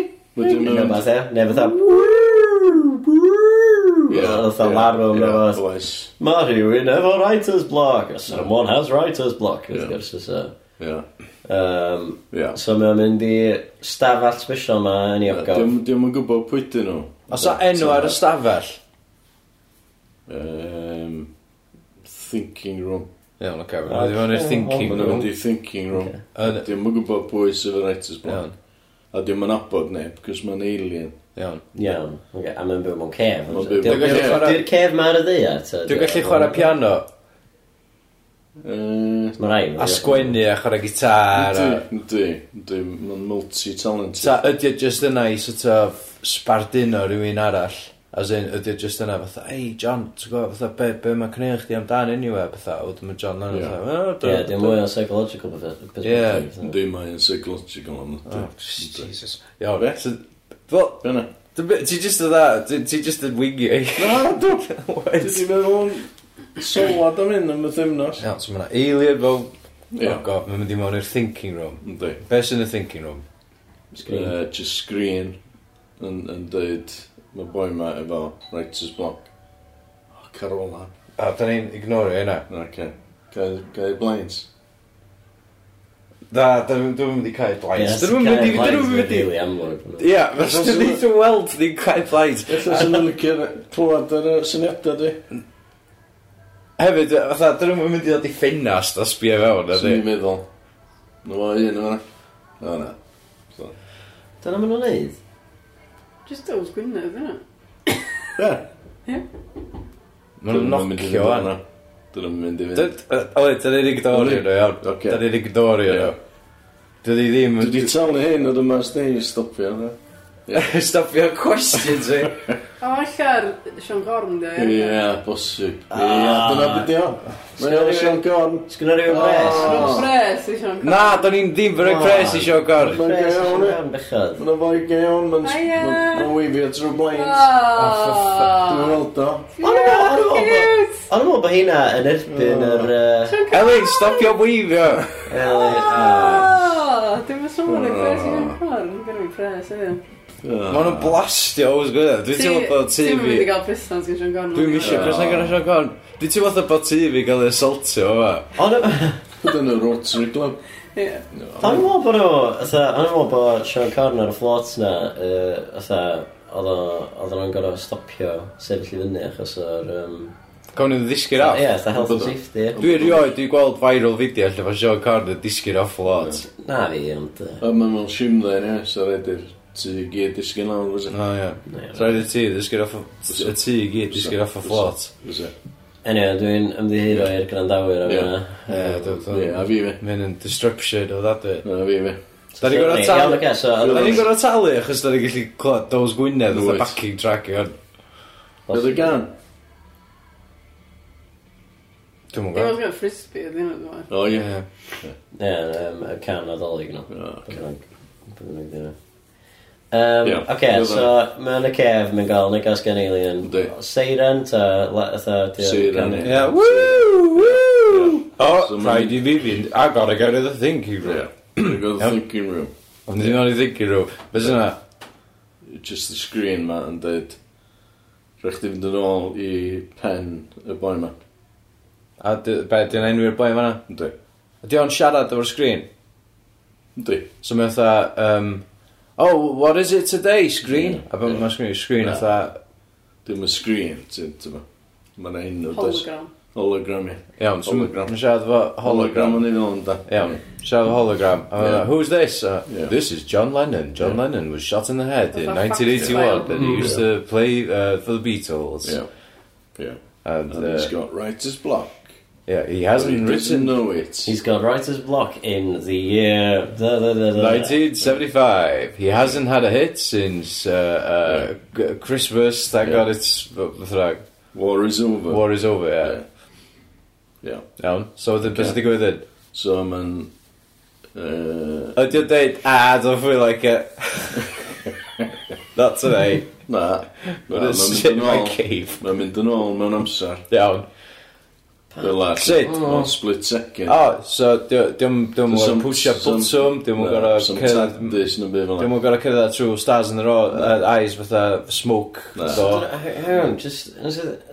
[SPEAKER 2] Ring,
[SPEAKER 5] Wedyn mae o'n-
[SPEAKER 2] neu fath, ie? Neu fatha... Fatha larw mewn fath.
[SPEAKER 5] Oes.
[SPEAKER 2] Mae rhywun efo writer's block. Someone has writer's block.
[SPEAKER 5] Ie.
[SPEAKER 2] Wrth gwrs, so...
[SPEAKER 5] Ia.
[SPEAKER 2] Um,
[SPEAKER 5] Ia.
[SPEAKER 2] so mae'n mynd i stafell special ma yn Iogof.
[SPEAKER 5] Diolch yn gwybod pwy dyn nhw.
[SPEAKER 4] Os o enw ar y stafell?
[SPEAKER 5] Um, thinking room.
[SPEAKER 4] Iawn, oce, mae'n mynd i mewn i'r thinking
[SPEAKER 5] Maen nhw'n mynd
[SPEAKER 4] room.
[SPEAKER 5] i thinking room.
[SPEAKER 4] Yn-
[SPEAKER 5] Diolch yn gwybod pwy sydd y writer's
[SPEAKER 4] Iawn,
[SPEAKER 5] block. A diolch yn abod neb, cos mae'n alien.
[SPEAKER 4] iawn.
[SPEAKER 2] Iawn. Okay. A mae'n byw mewn cef.
[SPEAKER 5] Ma'n byw mewn
[SPEAKER 4] cef.
[SPEAKER 2] Dwi'n cef ma ar y ddeia.
[SPEAKER 4] Dwi'n gallu chwarae piano,
[SPEAKER 5] Yy,
[SPEAKER 2] Mae rhaid.
[SPEAKER 4] a sgwennu, a chwarae gitar, a...
[SPEAKER 5] Yndi, yndi, yndi, mae'n multi-talented.
[SPEAKER 4] Ta, ydy o just yna i sort of sbardino rhywun arall As in, ydy o just yna fatha, ei, John, ti'n gwybod, fatha, be, be mae cneu chdi amdan anyway, fatha, oedd mae John Lennon
[SPEAKER 5] Ie.
[SPEAKER 4] fatha, "Oh,
[SPEAKER 2] Ie,
[SPEAKER 4] do-
[SPEAKER 2] dim
[SPEAKER 4] do-
[SPEAKER 2] mwy o psychological perfe-
[SPEAKER 4] Ie,
[SPEAKER 2] perspective.
[SPEAKER 5] Yndi, mae'n psychological am
[SPEAKER 4] Oh,
[SPEAKER 5] ydy.
[SPEAKER 4] Jesus. Iawn,
[SPEAKER 5] Be?
[SPEAKER 4] so- Fel,
[SPEAKER 5] Fyna.
[SPEAKER 4] Dy- be- Ti just yn dda, ti ti just yn wingio i. [LAUGHS]
[SPEAKER 5] Na, dw.
[SPEAKER 4] What?
[SPEAKER 5] Dwi'n meddwl yn sylwad am hyn am y ddymnos.
[SPEAKER 4] Iawn, so mae'na alien fel...
[SPEAKER 5] Ie.
[SPEAKER 4] Oh god, mae'n mynd i mewn i'r thinking room.
[SPEAKER 5] Yndi.
[SPEAKER 4] Be sy'n y thinking room?
[SPEAKER 2] Sgrin.
[SPEAKER 5] Yy, Just screen yn yn dweud, mae boi ma efo writer's block. O, Carola.
[SPEAKER 4] A, da ni'n ignorio hynna.
[SPEAKER 5] Na, ce. Gael
[SPEAKER 4] [LAUGHS]
[SPEAKER 5] blains.
[SPEAKER 4] Da, da ni'n dwi'n mynd i cael blaid. Da ni'n mynd i... Da ni'n mynd i...
[SPEAKER 2] Really amlwg.
[SPEAKER 4] Ia, fes da ni'n [LAUGHS] dwi'n weld ni'n cael blaid.
[SPEAKER 5] Felly sy'n yn licio clywed yr yy, syniadau di.
[SPEAKER 4] Hefyd, yy, fatha, da ni'n mynd i ddod i ffenast a sbio fewn, na
[SPEAKER 5] Swn
[SPEAKER 4] di.
[SPEAKER 5] i'n meddwl. Na fo un yma. O na.
[SPEAKER 2] Dyna maen nhw'n neud.
[SPEAKER 3] Just dos Gwynedd, yna.
[SPEAKER 5] Ie.
[SPEAKER 4] Mae'n nocio fan.
[SPEAKER 5] Dyn nhw'n mynd i fynd.
[SPEAKER 4] Oed, da ni'n ignorio nhw, iawn.
[SPEAKER 5] Ocê.
[SPEAKER 4] Da ni'n ignorio nhw.
[SPEAKER 5] Ie.
[SPEAKER 4] Dwi di ddim...
[SPEAKER 5] Dwi wedi talu hyn oedd yma sdi i stopio. na.
[SPEAKER 4] [LAUGHS] Stopio questions i.
[SPEAKER 5] [LAUGHS]
[SPEAKER 3] O, allar Sean Gorn, de.
[SPEAKER 5] Ie, bosib.
[SPEAKER 4] Ah.
[SPEAKER 5] Ie, dyna beth di o. Mae'n iawn Sean Gorn.
[SPEAKER 2] Sgrin rhywun
[SPEAKER 5] O.
[SPEAKER 2] bres.
[SPEAKER 3] Mae'n pres i Sean Gorn.
[SPEAKER 4] Na, da ni'n ddim
[SPEAKER 5] Oh.
[SPEAKER 4] fyr o'i pres i sio gorn.
[SPEAKER 5] Mae'n
[SPEAKER 2] Bres,
[SPEAKER 5] gael iawn, ie.
[SPEAKER 2] sgrin bechod.
[SPEAKER 5] Mae'n fwy gael, mae'n
[SPEAKER 3] Hiya.
[SPEAKER 5] mae'n wifio trwy blains. Dwi'n
[SPEAKER 3] Oh,
[SPEAKER 5] weld o.
[SPEAKER 2] O'n i'n meddwl- o'n i'n meddwl bod- o'n i'n
[SPEAKER 3] cute!
[SPEAKER 2] meddwl bod hynna yn erbyn yr... yy,
[SPEAKER 3] Sean Gorn!
[SPEAKER 4] Elin, stopio weifio.
[SPEAKER 2] Eli- ah.
[SPEAKER 3] Oh, Dwi'n mynd sôn o'r pres i Sean Gorn. Gwna mi pres, ie.
[SPEAKER 4] Ma' nhw'n blastio oes gwybod. Dwi'n teimlo bod tŷ
[SPEAKER 3] Ti'n mynd
[SPEAKER 4] fi...
[SPEAKER 3] i gael presant gyda Sean Gorn.
[SPEAKER 4] Dwi'n misio presau gan sio gorn. Dwi'n teimlo fatha bod tŷ fi gael ei assaultio yma.
[SPEAKER 2] O'n i'n-
[SPEAKER 5] Dwi'n yn y Rotary Club.
[SPEAKER 3] Ie.
[SPEAKER 2] O'n i'n meddwl bod nhw, fatha, o'n i'n meddwl bod Sean Corn ar y float na, yy, fatha, oedd o- oedden nhw'n gorfod stopio sefyll i fyny achos o'r... yym,
[SPEAKER 4] Gawn ni'n ddisgyn off.
[SPEAKER 2] Ie, fatha health and
[SPEAKER 5] Oedden nhw.
[SPEAKER 2] safety.
[SPEAKER 4] Dwi'n rioed, dwi'n gweld viral fideo lle mae Sean Corn yn disgyn off lot.
[SPEAKER 2] Na fi, ond... yy,
[SPEAKER 5] A mae'n mewn simlen, ie. So redi'r tu i gyd disgyn lawr. fysa?
[SPEAKER 4] O ie.
[SPEAKER 2] na, ie.
[SPEAKER 4] Rhaid y tŷ, disgyn off y tŷ i gyd, disgyn off y flot.
[SPEAKER 5] Fysa.
[SPEAKER 2] Anyway, dwi'n ymddiheuro i'r grandawyr am
[SPEAKER 5] Ie.
[SPEAKER 2] hynna.
[SPEAKER 4] Ie, dwi'n
[SPEAKER 5] Ie, a fi fi.
[SPEAKER 4] Mae'n yn disruption o ddadwy.
[SPEAKER 5] Na fi fi.
[SPEAKER 4] Da ni'n gorau
[SPEAKER 2] Iawn,
[SPEAKER 4] talu.
[SPEAKER 2] ocê, so
[SPEAKER 4] Da ni'n
[SPEAKER 2] oedden nhw'n-
[SPEAKER 4] gorau talu achos da ni'n gallu clywed Dose Gwynedd oedd
[SPEAKER 5] Wyt.
[SPEAKER 4] y backing track i hwn.
[SPEAKER 5] Bydd y gan?
[SPEAKER 4] Dwi'n mwyn
[SPEAKER 3] Dim
[SPEAKER 4] gwybod.
[SPEAKER 3] ond gael frisbee, ddim ond dwi'n
[SPEAKER 5] O ie.
[SPEAKER 4] Ie.
[SPEAKER 2] Ie, yym, y can adolyg nhw.
[SPEAKER 5] O,
[SPEAKER 2] Beth bynnag- beth bynnag 'di hynna. Yym,
[SPEAKER 5] Ie,
[SPEAKER 2] Oce,
[SPEAKER 5] ie,
[SPEAKER 2] so mae'n y cef, mae'n gael negas gan alien.
[SPEAKER 5] Yndi.
[SPEAKER 2] Seiren, ta... la- fatha, ti-
[SPEAKER 5] Seiren,
[SPEAKER 2] gan-
[SPEAKER 5] ie.
[SPEAKER 4] Yeah, woo, woo! O,
[SPEAKER 5] So
[SPEAKER 4] rhaid i fi fynd. I gotta go to the thinking
[SPEAKER 5] Ie.
[SPEAKER 4] room.
[SPEAKER 5] Dwi'n gwybod thinking room.
[SPEAKER 4] Ond ddim ond i thinking room. Bys yna,
[SPEAKER 5] Just the screen ma yn dweud Rhaid chdi fynd yn ôl i pen y boi ma
[SPEAKER 4] a dy- be, di'n enwi'r boi fanna?
[SPEAKER 5] Ynddi
[SPEAKER 4] Ydy o'n siarad efo'r sgrin?
[SPEAKER 5] Ynddi
[SPEAKER 4] So mae fatha, um, oh, what is it today, sgrin?
[SPEAKER 5] Ie,
[SPEAKER 4] A beth
[SPEAKER 5] ie.
[SPEAKER 4] mae sgrin, sgrin
[SPEAKER 5] Ie.
[SPEAKER 4] fatha,
[SPEAKER 5] Dim y screen ti'n tyma Mae'n ein nhw does
[SPEAKER 3] Hologram.
[SPEAKER 5] Hologram ie
[SPEAKER 4] iawn, so
[SPEAKER 5] Hologram.
[SPEAKER 4] mae'n siarad efo
[SPEAKER 5] Hologram
[SPEAKER 4] hologram.
[SPEAKER 5] yn ei ddol ynda
[SPEAKER 4] Iawn, siarad efo hologram. A mae
[SPEAKER 5] Ie.
[SPEAKER 4] fatha, who's this? Uh,
[SPEAKER 5] Ie.
[SPEAKER 4] This is John Lennon. John Lennon was shot in the head in
[SPEAKER 3] Fatha
[SPEAKER 4] 1981
[SPEAKER 3] fact
[SPEAKER 4] and he
[SPEAKER 5] file.
[SPEAKER 4] used to play uh, for the Beatles.
[SPEAKER 5] Ie Ie
[SPEAKER 4] And
[SPEAKER 5] And he's
[SPEAKER 4] uh,
[SPEAKER 5] got writer's block
[SPEAKER 4] yeah, he
[SPEAKER 5] But he
[SPEAKER 4] hasn't
[SPEAKER 5] doesn't
[SPEAKER 4] written
[SPEAKER 5] know it
[SPEAKER 2] He's got writer's block in the year... Da, da, da, da.
[SPEAKER 4] 1975. He hasn't had a hit since uh, uh, g- Christmas. Thank
[SPEAKER 5] Yeah.
[SPEAKER 4] God it's fatha,
[SPEAKER 5] War is over
[SPEAKER 4] war is over. Yeah.
[SPEAKER 5] Ie Ie
[SPEAKER 4] Iawn. So the best thing with it.
[SPEAKER 5] So mae'n yy,
[SPEAKER 4] Ydy o'n deud, ah, I don't feel like [LAUGHS] it. Not today.
[SPEAKER 5] Na
[SPEAKER 4] I'm
[SPEAKER 5] na,
[SPEAKER 4] gonna
[SPEAKER 5] Mae'n
[SPEAKER 4] sit in
[SPEAKER 5] mynd yn
[SPEAKER 4] my
[SPEAKER 5] ôl
[SPEAKER 4] cave.
[SPEAKER 5] Mae'n mynd yn ôl mewn amser
[SPEAKER 4] Iawn.
[SPEAKER 5] Fel ar
[SPEAKER 4] Sut?
[SPEAKER 5] Mewn split second
[SPEAKER 4] Oh, so di- diom diom yn
[SPEAKER 5] Some-
[SPEAKER 4] pwysio
[SPEAKER 5] some-
[SPEAKER 4] bwtswm, diom yn
[SPEAKER 5] Na,
[SPEAKER 4] gorau
[SPEAKER 5] some
[SPEAKER 4] cerdded...
[SPEAKER 5] tactics neu byd fel 'na.
[SPEAKER 4] Diom yn gorau cerdded trwy stars in the row, uh, eyes fatha smoke.
[SPEAKER 5] Na.
[SPEAKER 4] So,
[SPEAKER 2] Dyna- Hang on, just...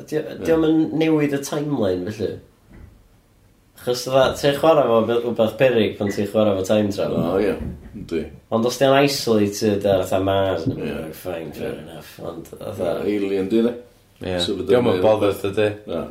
[SPEAKER 2] Diolch yn newid y timeline, felly. Achos dda, ti'n chwarae fo be- rhywbeth perig pan ti'n chwarae fo time travel.
[SPEAKER 5] O ie, ynddi.
[SPEAKER 2] Ond os ti'n isolated ar fatha Mars, yn
[SPEAKER 5] Ie.
[SPEAKER 2] yeah. fine, fair enough. Ond fatha...
[SPEAKER 5] Alien di dde.
[SPEAKER 4] yeah.
[SPEAKER 5] So fydd
[SPEAKER 4] diom
[SPEAKER 5] o'n-
[SPEAKER 4] yn bothered ydy.
[SPEAKER 5] Na.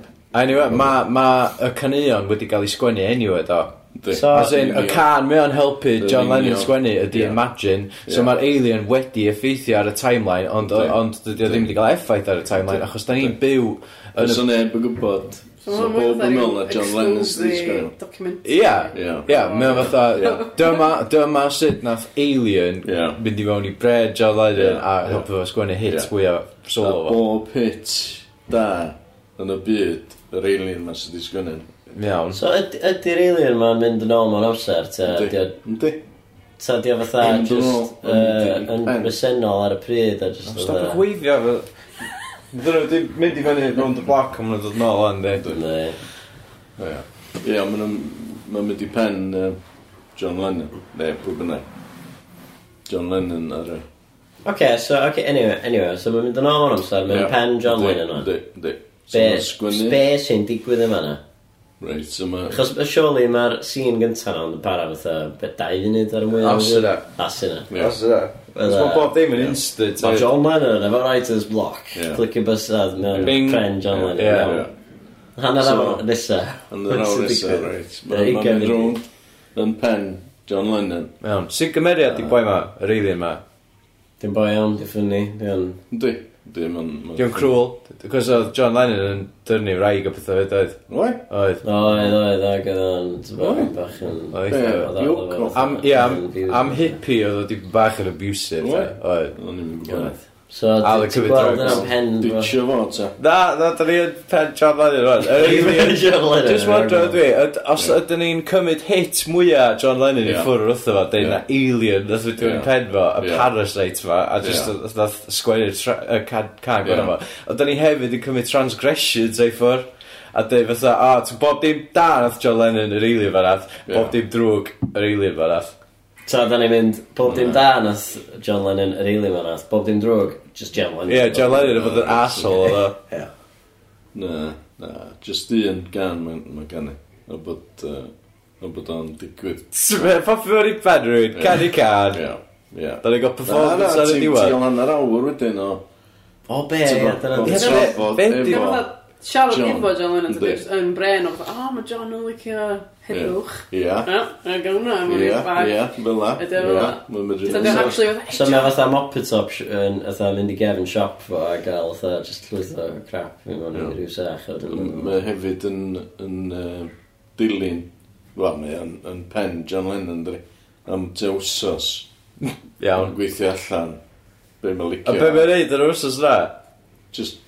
[SPEAKER 4] Anyway, mae ma y caneuon wedi cael eu sgwennu anyway, do.
[SPEAKER 5] Yndi.
[SPEAKER 2] So-
[SPEAKER 4] As in, y can mae o'n helpu
[SPEAKER 5] Yn
[SPEAKER 4] John Lennon
[SPEAKER 5] union.
[SPEAKER 4] sgwennu ydy
[SPEAKER 5] Ie.
[SPEAKER 4] Imagine, so
[SPEAKER 5] Ie.
[SPEAKER 4] mae'r alien wedi effeithio ar y timeline, ond
[SPEAKER 5] Yndi.
[SPEAKER 4] ond dydy o ddim wedi cael effaith ar y timeline,
[SPEAKER 5] Yndi.
[SPEAKER 4] achos da ni'n
[SPEAKER 5] Yndi.
[SPEAKER 4] byw yn
[SPEAKER 5] Os
[SPEAKER 4] y...
[SPEAKER 5] o'n neb yn gwybod.
[SPEAKER 3] So
[SPEAKER 5] So
[SPEAKER 3] mae'n mwy
[SPEAKER 5] bob yn meddwl na
[SPEAKER 3] fatha
[SPEAKER 5] John Lennon sydd wedi
[SPEAKER 3] exclusive
[SPEAKER 5] sgwennu.
[SPEAKER 3] documentary.
[SPEAKER 4] Ia,
[SPEAKER 5] Ie.
[SPEAKER 4] ia, mae o'n [LAUGHS]
[SPEAKER 5] Ie.
[SPEAKER 4] fatha, dyma, dyma sut nath alien
[SPEAKER 5] Ie.
[SPEAKER 4] mynd i mewn i bred John Lennon
[SPEAKER 5] Ie.
[SPEAKER 4] a
[SPEAKER 5] Ie.
[SPEAKER 4] helpu fo sgwennu
[SPEAKER 5] Ie.
[SPEAKER 4] hits fwyaf
[SPEAKER 5] A
[SPEAKER 4] solo fo.
[SPEAKER 5] bob hit da yn y byd, yr alien ma sydd wedi sgwennu.
[SPEAKER 4] Iawn.
[SPEAKER 2] So yd- ydy'r alien ma'n mynd yn ôl mewn amser, ta
[SPEAKER 5] Yndi.
[SPEAKER 2] ydi o-
[SPEAKER 5] Yndi.
[SPEAKER 2] ta ydi o fatha
[SPEAKER 5] Mynd yn ôl,
[SPEAKER 2] just
[SPEAKER 5] yndi.
[SPEAKER 2] yy, yn bresennol ar y pryd a just
[SPEAKER 4] Stop y
[SPEAKER 2] fatha...
[SPEAKER 4] gweithio fo. Dyn nhw wedi mynd i fyny round the block a maen nhw'n dod nôl yn dweud.
[SPEAKER 2] Neu.
[SPEAKER 5] Ie, Oh, Ie, ma'n ma'n mynd i pen yy, John Lennon. Ne, pwy bynnag. John Lennon ar y...
[SPEAKER 2] Oce, so, oce, anyway, anyway, so mae'n mynd yn ôl mewn amser, mae'n
[SPEAKER 5] Ie.
[SPEAKER 2] pen John
[SPEAKER 5] Yndi,
[SPEAKER 2] Lennon o'n.
[SPEAKER 5] Yndi, yndi. So
[SPEAKER 2] Be,
[SPEAKER 5] ma'n
[SPEAKER 2] be sy'n digwydd yma na?
[SPEAKER 5] Reit, so ma...
[SPEAKER 2] Achos y surely mae'r scene gyntaf na'n para fatha be- dau funud ar y mwy.
[SPEAKER 4] Os yna.
[SPEAKER 2] As yna.
[SPEAKER 5] Ie.
[SPEAKER 4] Os yna. Os mae bob dim yn instant.
[SPEAKER 2] Mae John Lennon efo writer's block.
[SPEAKER 5] Ie.
[SPEAKER 2] Clicio bysad mewn
[SPEAKER 4] Bing.
[SPEAKER 2] pren John Lennon.
[SPEAKER 4] Ie.
[SPEAKER 2] Iawn.
[SPEAKER 5] Ie.
[SPEAKER 2] Hanner
[SPEAKER 5] So-
[SPEAKER 2] awr nesa.
[SPEAKER 5] Yn yr awr nesa, reit.
[SPEAKER 2] Ie,
[SPEAKER 5] Ma'n ma'n
[SPEAKER 2] ugain
[SPEAKER 5] mynd
[SPEAKER 2] munud.
[SPEAKER 5] rownd yn pen John Lennon.
[SPEAKER 4] Iawn. Sy'n gymeriad i boi ma, yr alien ma?
[SPEAKER 2] Dim boi iawn, di ffynnu. Di'n...
[SPEAKER 5] Yndi. Yndi, ma'n... ma'n-
[SPEAKER 4] Diolch crwl. Cos oedd John Lennon yn dyrnu wraig o pethau fyd oedd.
[SPEAKER 5] Oi?
[SPEAKER 4] Oedd.
[SPEAKER 2] Oedd, oedd, oedd, oedd o'n tybod yn bach yn...
[SPEAKER 4] Oedd.
[SPEAKER 5] Ie.
[SPEAKER 4] oedd. Am, ie, am, am hippie oedd wedi bach yn abusive.
[SPEAKER 5] Ie.
[SPEAKER 4] eh, Oedd.
[SPEAKER 5] O'n i'n mynd
[SPEAKER 2] Oedd.
[SPEAKER 5] gwybod.
[SPEAKER 2] So,
[SPEAKER 4] A oedd y
[SPEAKER 2] ti- ti'n
[SPEAKER 4] cymryd
[SPEAKER 2] gweld
[SPEAKER 4] drugs.
[SPEAKER 2] yna'n pen... fo?
[SPEAKER 5] Ditio fo, ta.
[SPEAKER 4] Na, na, da ni yn pen John Lennon rwan. Yr alien.
[SPEAKER 2] John Lennon.
[SPEAKER 4] Just wonder dwi, yd- os ydyn ni'n cymryd hit mwyaf John Lennon i
[SPEAKER 5] Ie.
[SPEAKER 4] ffwrdd wrtho fo, dweud
[SPEAKER 5] Ie.
[SPEAKER 4] na alien, nath wedi
[SPEAKER 5] Ie.
[SPEAKER 4] yn pen fo, y
[SPEAKER 5] Ie.
[SPEAKER 4] parasite fo, a just
[SPEAKER 5] Ie.
[SPEAKER 4] nath- nath sgwennu'r tra- y can can
[SPEAKER 5] Ie.
[SPEAKER 4] gwrna fo. A da ni hefyd yn cymryd transgressions ei ffwrdd, a dweud fatha, a, ti'n bob dim da nath John Lennon yr alien fan ath,
[SPEAKER 5] Ie.
[SPEAKER 4] bob dim drwg yr alien fan ath.
[SPEAKER 2] So, da ni'n mynd, bob dim da nath John Lennon yr eili ma nath, bob dim drwg, just John Lennon.
[SPEAKER 4] Ie, John Lennon yn fod yn asshole o
[SPEAKER 5] [LAUGHS]
[SPEAKER 4] fo.
[SPEAKER 5] Na, na. Just un gan mae'n ma gan i. O bod... Uh, o bod o'n digwydd.
[SPEAKER 4] Popeth fawr i pen rhywun,
[SPEAKER 5] Ie.
[SPEAKER 4] can i can.
[SPEAKER 5] Ia. Ia.
[SPEAKER 4] Da ni'n gael performance ar y diwedd.
[SPEAKER 5] Ti'n hanner awr wedyn o...
[SPEAKER 2] O, be, ie, dyna
[SPEAKER 5] Ti'n
[SPEAKER 4] Ie,
[SPEAKER 2] di.
[SPEAKER 4] be-
[SPEAKER 5] trafod efo-
[SPEAKER 4] be-
[SPEAKER 3] Dwi'n fatha siarad
[SPEAKER 5] John.
[SPEAKER 3] efo John Lennon
[SPEAKER 5] Yndi.
[SPEAKER 3] tydi, jyst yn bren o fatha, o, mae John yn licio heddwch.
[SPEAKER 5] Ia.
[SPEAKER 3] Na, na, gael hwnna, mae'n
[SPEAKER 5] Ia,
[SPEAKER 3] i'n bag.
[SPEAKER 5] ia, fel la.
[SPEAKER 3] Ydi o fel
[SPEAKER 5] Ia,
[SPEAKER 3] na.
[SPEAKER 5] Mae'n mynd
[SPEAKER 3] So, dwi'n
[SPEAKER 5] i'n...
[SPEAKER 3] actually fatha,
[SPEAKER 2] So,
[SPEAKER 3] "Eh,
[SPEAKER 2] mae
[SPEAKER 3] John."
[SPEAKER 2] fatha mopper top sh- yn fatha mynd i gefn siop fo a gael fatha just llwyth o crap fi mewn i
[SPEAKER 5] Ie.
[SPEAKER 2] ryw sach. a wedyn-
[SPEAKER 5] Mae hefyd yn... yn uh, dilyn... Wel, mae yn, yn pen John Lennon, dwi. Am te wsos.
[SPEAKER 4] Iawn.
[SPEAKER 5] Gweithio allan. Be mae'n
[SPEAKER 4] A be
[SPEAKER 5] licio.
[SPEAKER 4] mae'n neud ar yr wrsos na?
[SPEAKER 5] Just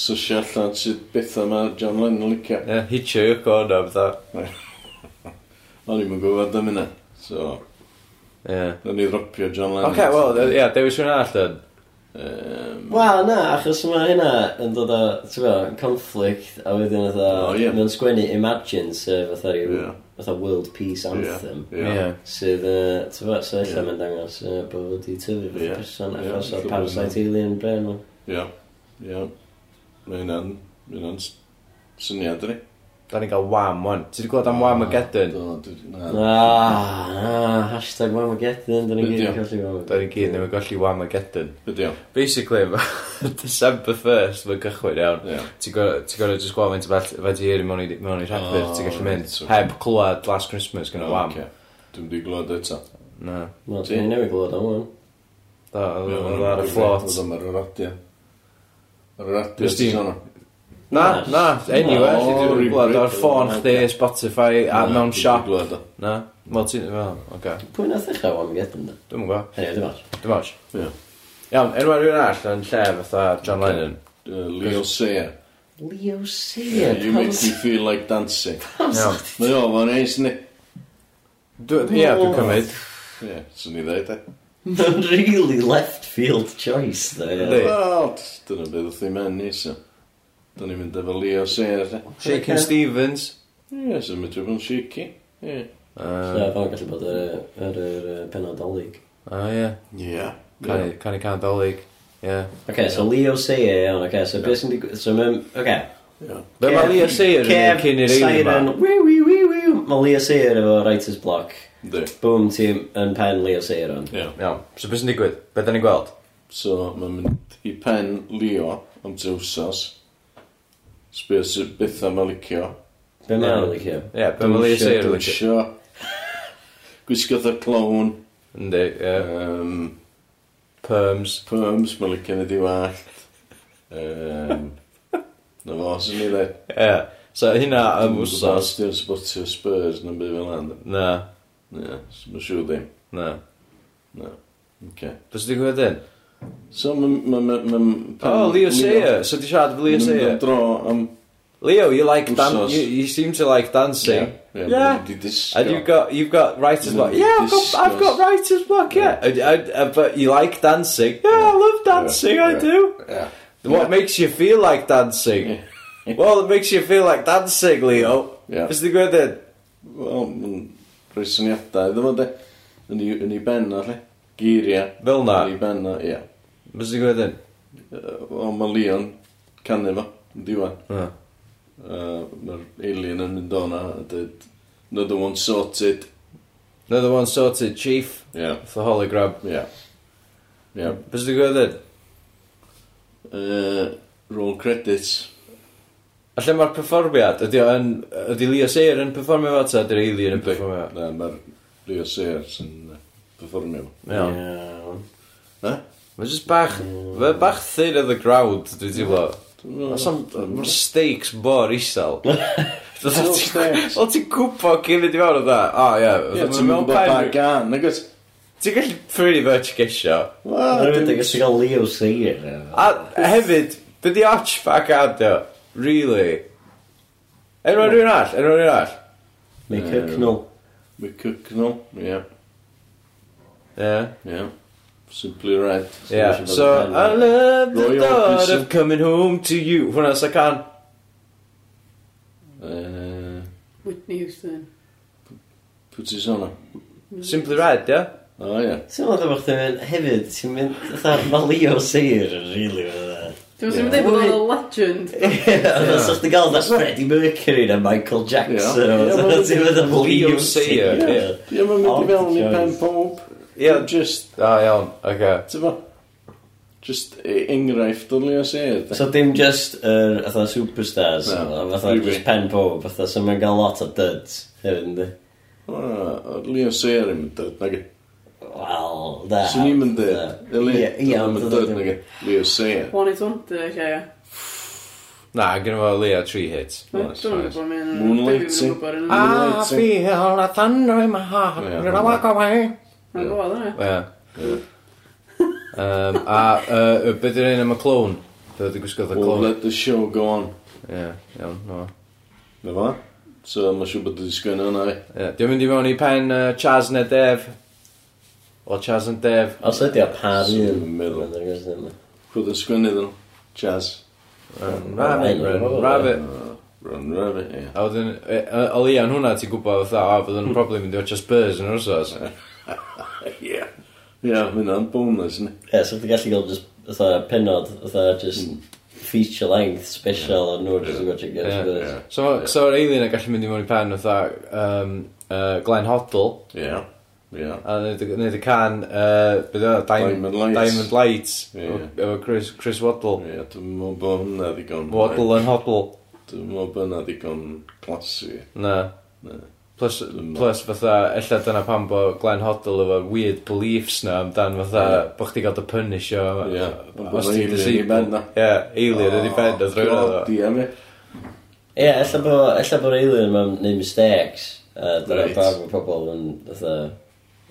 [SPEAKER 5] sysio allan sydd bethau mae John Lennon licio.
[SPEAKER 4] Ie, hitio i'w corner, fatha.
[SPEAKER 5] O'n i'n gwybod am hynna. So,
[SPEAKER 4] Ie.
[SPEAKER 5] na ni ddropio John Lennon.
[SPEAKER 4] Oce, wel, ia, dewis hwnna allan.
[SPEAKER 5] Um,
[SPEAKER 2] Wel, na, achos mae hynna yn dod o, ti'n gwybod, conflict, a wedyn
[SPEAKER 5] O, ie.
[SPEAKER 2] fatha, mae'n sgwennu Imagine, sef fatha ryw,
[SPEAKER 5] Ie.
[SPEAKER 2] fatha World Peace Anthem,
[SPEAKER 5] Ie.
[SPEAKER 2] sydd, yy, ti'n gwybod, so
[SPEAKER 5] Ie.
[SPEAKER 2] ella mae'n dangos yy, bod wedi tyfu
[SPEAKER 5] Ie.
[SPEAKER 2] fath person,
[SPEAKER 5] Ie,
[SPEAKER 2] achos o'r
[SPEAKER 5] ella
[SPEAKER 2] parasite alien bren nhw.
[SPEAKER 5] Ie. Ie. Mae hynna'n... Mae hynna'n s- syniad, ni.
[SPEAKER 4] Da ni'n cael wham, wan. Ti wedi gweld am wham y gedyn?
[SPEAKER 5] Do, dwi- na.
[SPEAKER 2] Na, na, hashtag Wamageddon, dyn ni'n
[SPEAKER 5] Ydi
[SPEAKER 2] gyd
[SPEAKER 5] o.
[SPEAKER 2] yn colli Wamageddon.
[SPEAKER 4] Da ni'n gyd ddim yn golli wham y gedyn.
[SPEAKER 5] Ydi o.
[SPEAKER 4] Basically, ma- [LAUGHS] December 1st, mae'n cychwyn iawn.
[SPEAKER 5] Ie.
[SPEAKER 4] Ti'n gorau just gweld faint o bell, faint i hir i mewn i mewn i rhagfyr,
[SPEAKER 5] O,
[SPEAKER 4] ti'n gallu
[SPEAKER 5] reit,
[SPEAKER 4] mynd.
[SPEAKER 5] so-
[SPEAKER 4] Heb clywed Last Christmas gyda wham.
[SPEAKER 5] Oce. Dwi'n di glod eto.
[SPEAKER 4] Na.
[SPEAKER 2] Na, dyn ni'n newid glod am hwn.
[SPEAKER 4] Da, oedd
[SPEAKER 5] Ie,
[SPEAKER 4] oedd ar y
[SPEAKER 5] oedd-
[SPEAKER 4] flot.
[SPEAKER 5] Oedd o'n ar y radio. Ar y radio.
[SPEAKER 4] Nes di-
[SPEAKER 5] ti'n sôn o?
[SPEAKER 4] Na, na, anyway,
[SPEAKER 5] O,
[SPEAKER 4] ti
[SPEAKER 5] reit,
[SPEAKER 4] wedi gweld ar
[SPEAKER 5] reit.
[SPEAKER 4] ffôn chdi, Spotify, a
[SPEAKER 5] Na,
[SPEAKER 4] mewn
[SPEAKER 5] dwi'm 'di
[SPEAKER 4] siop.
[SPEAKER 5] glywed o.
[SPEAKER 4] Na, wel, ti'n, wel, oce.
[SPEAKER 2] Pwy nath ddechrau Wamageddon, da?
[SPEAKER 4] Dwi'n gwybod,
[SPEAKER 2] Hynny, dim ond.
[SPEAKER 4] dim oes.
[SPEAKER 5] Ie.
[SPEAKER 4] Iawn, enw ar rhywun arall yn lle fatha John
[SPEAKER 5] Ocê.
[SPEAKER 4] Lennon.
[SPEAKER 5] Yy, Leo Sayer.
[SPEAKER 2] Leo Sear,
[SPEAKER 5] You make me feel like dancing.
[SPEAKER 4] Iawn.
[SPEAKER 5] Mae o fo'n eis ni.
[SPEAKER 4] Dw- Ie, dwi'n cymryd.
[SPEAKER 5] Ie, swn i ddeud e.
[SPEAKER 2] [LAUGHS] Mae'n really left field choice, dda.
[SPEAKER 4] Yndi.
[SPEAKER 2] ie.
[SPEAKER 5] Wel, dyna beth oedd i'n mynd ni, so. Da ni'n mynd efo Leo Sayer. de.
[SPEAKER 4] Shaking Stevens.
[SPEAKER 5] Ie, so mae'n trwy'n shaky. Ie.
[SPEAKER 2] So,
[SPEAKER 4] Yy,
[SPEAKER 2] fo'n gallu bod yr, yy, yr, yr yy, penod olig.
[SPEAKER 4] O ie,
[SPEAKER 5] Ie.
[SPEAKER 4] Can i- can i can dolyg. Ie.
[SPEAKER 2] Oce, so Leo Sayer, iawn, oce, so beth sy'n digwydd... So, mae'n... Oce.
[SPEAKER 5] Ie.
[SPEAKER 4] Be mae Leo Sayer yn gwneud cyn i'r eili yma?
[SPEAKER 2] Wiw, wiw, wiw, wiw. Mae Leo Sayer efo writer's block.
[SPEAKER 5] Yndi.
[SPEAKER 2] Boom, ti'n yn pen Leo Sayer on.
[SPEAKER 5] Ie.
[SPEAKER 4] Iawn, so beth sy'n digwydd? Be da ni'n gweld?
[SPEAKER 5] So, mae'n mynd i pen Leo am te wsos. Sbio sy'n bethau mae'n licio.
[SPEAKER 2] Be mae'n licio?
[SPEAKER 4] Ie, be mae Leo Sayer yn
[SPEAKER 5] Dwsio. Gwisgo the clown.
[SPEAKER 4] Yndi, ie.
[SPEAKER 5] Um,
[SPEAKER 4] Perms.
[SPEAKER 5] perms, mae'n licio ni di wallt. Um, na fo, sy'n ni dde.
[SPEAKER 4] Ie. So hynna
[SPEAKER 5] Dwi'n
[SPEAKER 4] am
[SPEAKER 5] gwbod
[SPEAKER 4] wsos.
[SPEAKER 5] os di'n sbotio Spurs na'n byd fel hynny.
[SPEAKER 4] Na,
[SPEAKER 5] Ie, s- mae'n siŵr ddim.
[SPEAKER 4] na.
[SPEAKER 5] Na. Oce.
[SPEAKER 4] Dwi'n di gwybod hyn?
[SPEAKER 5] So mae'n... Ma, ma, ma,
[SPEAKER 4] O,
[SPEAKER 5] pan-
[SPEAKER 4] Oh, Leo
[SPEAKER 5] Leo-
[SPEAKER 4] Sayer. So di siarad efo Leo
[SPEAKER 5] Ma'n mynd
[SPEAKER 4] Sayer.
[SPEAKER 5] am dro am...
[SPEAKER 4] Leo, you like dan-
[SPEAKER 5] Mm, Wsos.
[SPEAKER 4] you, you seem to like dancing.
[SPEAKER 5] Ie,
[SPEAKER 4] Yeah.
[SPEAKER 5] ma'n mynd i disgo.
[SPEAKER 4] And you've got you've got writer's block.
[SPEAKER 5] Mm,
[SPEAKER 4] Yeah, I've got I've got writer's block. Yeah, And- and- uh, but you like dancing. Yeah, I love dancing. I
[SPEAKER 5] yeah.
[SPEAKER 4] do.
[SPEAKER 5] Yeah.
[SPEAKER 4] What makes you feel like [LAUGHS] dancing? well, it makes you feel like dancing, Leo.
[SPEAKER 5] Yeah.
[SPEAKER 4] Is the good then?
[SPEAKER 5] Wel, mae'n rhoi syniadau, ddim ond e. Yn ei- yn ei ben na, lle. Geiriau.
[SPEAKER 4] Fel na.
[SPEAKER 5] Yn ei ben na, ie.
[SPEAKER 4] Is the good then?
[SPEAKER 5] Yy, Wel, mae Leon canu fo, yn diwan.
[SPEAKER 4] Oh.
[SPEAKER 5] Uh, Mae'r alien yn mynd o'na a dweud, another one sorted.
[SPEAKER 4] Another one sorted, chief.
[SPEAKER 5] Ie.
[SPEAKER 4] For hologram.
[SPEAKER 5] Ie. Ie.
[SPEAKER 4] Is the good then?
[SPEAKER 5] Yy, Roll credits.
[SPEAKER 4] A lle mae'r perfformiad? Ydy, o yn- ydy Leo Sayer yn perfformio fo ta? Ydy'r alien yn perfformio fo?
[SPEAKER 5] Na, mae'r Leo Sears yn yy, performio fo.
[SPEAKER 4] Iawn.
[SPEAKER 2] Iawn.
[SPEAKER 4] Mae'n just bach, mae'n bach thin of the ground, dwi'n teimlo.
[SPEAKER 5] Dwi'n
[SPEAKER 4] Mae'n
[SPEAKER 5] meddwl-
[SPEAKER 4] sam- ma'r stakes mor
[SPEAKER 5] [LAUGHS]
[SPEAKER 4] isel.
[SPEAKER 5] Real stakes.
[SPEAKER 4] O ti'n gwybod cyn mynd i mewn o dda? O
[SPEAKER 5] Ie,
[SPEAKER 4] ie.
[SPEAKER 5] ti'n meddwl bod bag gan, nag oes?
[SPEAKER 4] Ti'n gallu pretty much gesio.
[SPEAKER 5] Wel,
[SPEAKER 2] Dwi'n
[SPEAKER 5] dim-
[SPEAKER 2] mynd i gallu cael Leo Sayer.
[SPEAKER 4] A hefyd, be di arch bag adio? Really? Enw rhywun all, enw rhywun all.
[SPEAKER 2] Mae Cycnol.
[SPEAKER 5] Mae Cycnol, ie,
[SPEAKER 4] Ie.
[SPEAKER 5] ie. Simply Red.
[SPEAKER 4] Ie. So, I love the
[SPEAKER 5] Roy
[SPEAKER 4] thought
[SPEAKER 5] Orbison.
[SPEAKER 4] of coming home to you. Hwna sa can.
[SPEAKER 5] Yy,
[SPEAKER 3] Whitney Houston.
[SPEAKER 5] Pwy ti'n sôn am?
[SPEAKER 4] Simply Red, ie?
[SPEAKER 5] O, ie.
[SPEAKER 2] Ti'n meddwl bod chdi'n mynd hefyd, ti'n mynd, fatha, mae Leo Sayer yn rili fydda.
[SPEAKER 3] Dwi'n meddwl bod o'n a legend.
[SPEAKER 2] Oedd os o'ch ti'n gael da Freddie Mercury na Michael Jackson,
[SPEAKER 5] Ie.
[SPEAKER 2] oedd
[SPEAKER 5] Ie,
[SPEAKER 2] ti'n mynd am Leo
[SPEAKER 4] Leo Sayer,
[SPEAKER 2] Sayer.
[SPEAKER 4] ie.
[SPEAKER 5] Ie, mae'n mynd i fewn i
[SPEAKER 2] Choice.
[SPEAKER 5] pen pob.
[SPEAKER 4] Ie.
[SPEAKER 5] Just,
[SPEAKER 4] O iawn, oce.
[SPEAKER 5] ti'n fo? Just e- enghraifft o Leo Sears. de.
[SPEAKER 2] So dim just yr fatha superstars,
[SPEAKER 5] Na,
[SPEAKER 2] ond fatha
[SPEAKER 5] rili.
[SPEAKER 2] just pen pob, fatha, so mae'n gael lot o duds hefyd, ynddi?
[SPEAKER 5] O, Leo Sears yn mynd dod, nag i.
[SPEAKER 2] Wel, da.
[SPEAKER 5] Swn i'n mynd dod. Eli,
[SPEAKER 2] Ie, ie,
[SPEAKER 5] dyna
[SPEAKER 2] ond
[SPEAKER 5] mynd
[SPEAKER 2] dod
[SPEAKER 5] dod, nag e. i. Leo Sears.
[SPEAKER 3] One it wonder, lle.
[SPEAKER 4] Na, gynnu fo Leo three hits.
[SPEAKER 3] Dwi'n meddwl bod mi'n...
[SPEAKER 5] Moonlighting.
[SPEAKER 3] Dwi'n meddwl
[SPEAKER 5] Ah.
[SPEAKER 4] I feel a thunder in my heart.
[SPEAKER 5] Yeah.
[SPEAKER 4] Gonna walk away.
[SPEAKER 3] bod mi'n... Dwi'n
[SPEAKER 4] Ie. Um, a uh, beth yw'r un am y clwn? Beth yw'r gwisgo the
[SPEAKER 5] We'll
[SPEAKER 4] clwn?
[SPEAKER 5] let the show go on.
[SPEAKER 4] Ie, iawn, no.
[SPEAKER 5] Na fa? So, mae'n siŵr bod wedi sgwyn hwnna e. fi.
[SPEAKER 4] Ie, Dwi'n mynd i mewn i pen uh, Chaz neu Dev. O Chaz yn Dev.
[SPEAKER 2] Os ydi o par
[SPEAKER 5] Swn
[SPEAKER 2] un.
[SPEAKER 5] i'm yn meddwl.
[SPEAKER 2] Dwi'n gwrs ddim.
[SPEAKER 5] Chwyd yn sgwyn iddyn nhw. Jazz.
[SPEAKER 4] Um, Rabbit, Ren- Rabbit.
[SPEAKER 5] Run rabbit, ie.
[SPEAKER 4] A wedyn, yy, yy, o Leon hwnna ti'n gwybod fatha, o, byddwn nhw'n probably mynd i watch Spurs yn yr wrsos.
[SPEAKER 5] Ie. Ie, mynd o'n bonus, ni.
[SPEAKER 2] Ie, so ti'n gallu gael just, fatha, penod, fatha, just
[SPEAKER 5] Mm.
[SPEAKER 2] feature length special o'n nhw, just yn gwrs yn gwrs yn gwrs.
[SPEAKER 5] Ie.
[SPEAKER 4] So, so yr alien yn gallu mynd i mewn i pen fatha um, uh, Glenn Hoddle.
[SPEAKER 5] Ie. Ie.
[SPEAKER 4] A wneud y- wneud y can, uh, beth oedd o?
[SPEAKER 5] Diamond Lights.
[SPEAKER 4] Diamond Lights.
[SPEAKER 5] Ie.
[SPEAKER 4] Efo- Efo Chris, Chris Waddle.
[SPEAKER 5] Ie, dwi'n meddwl bod hwnna ddigon...
[SPEAKER 4] Waddle yn hodl.
[SPEAKER 5] Dwi'n meddwl bod hwnna ddigon classy.
[SPEAKER 4] Na.
[SPEAKER 5] Na.
[SPEAKER 4] Plus,
[SPEAKER 5] Dwi'm-
[SPEAKER 4] plus fatha, ella dyna pan bo Glenn Hoddle efo weird beliefs na amdan fatha,
[SPEAKER 5] Ie.
[SPEAKER 4] bo chdi gael dy punish o. Os
[SPEAKER 5] Ie.
[SPEAKER 4] ti'n
[SPEAKER 5] Bod 'na alien
[SPEAKER 4] disable.
[SPEAKER 5] i ben na. Oh,
[SPEAKER 4] Ie, alien ydi ben o drwy'n
[SPEAKER 5] God,
[SPEAKER 4] dda.
[SPEAKER 5] ie, mi.
[SPEAKER 2] Ie, ella bod ella bod alien ma'n neud mistakes. A dyna
[SPEAKER 5] Reit.
[SPEAKER 2] pam mae pobl yn fatha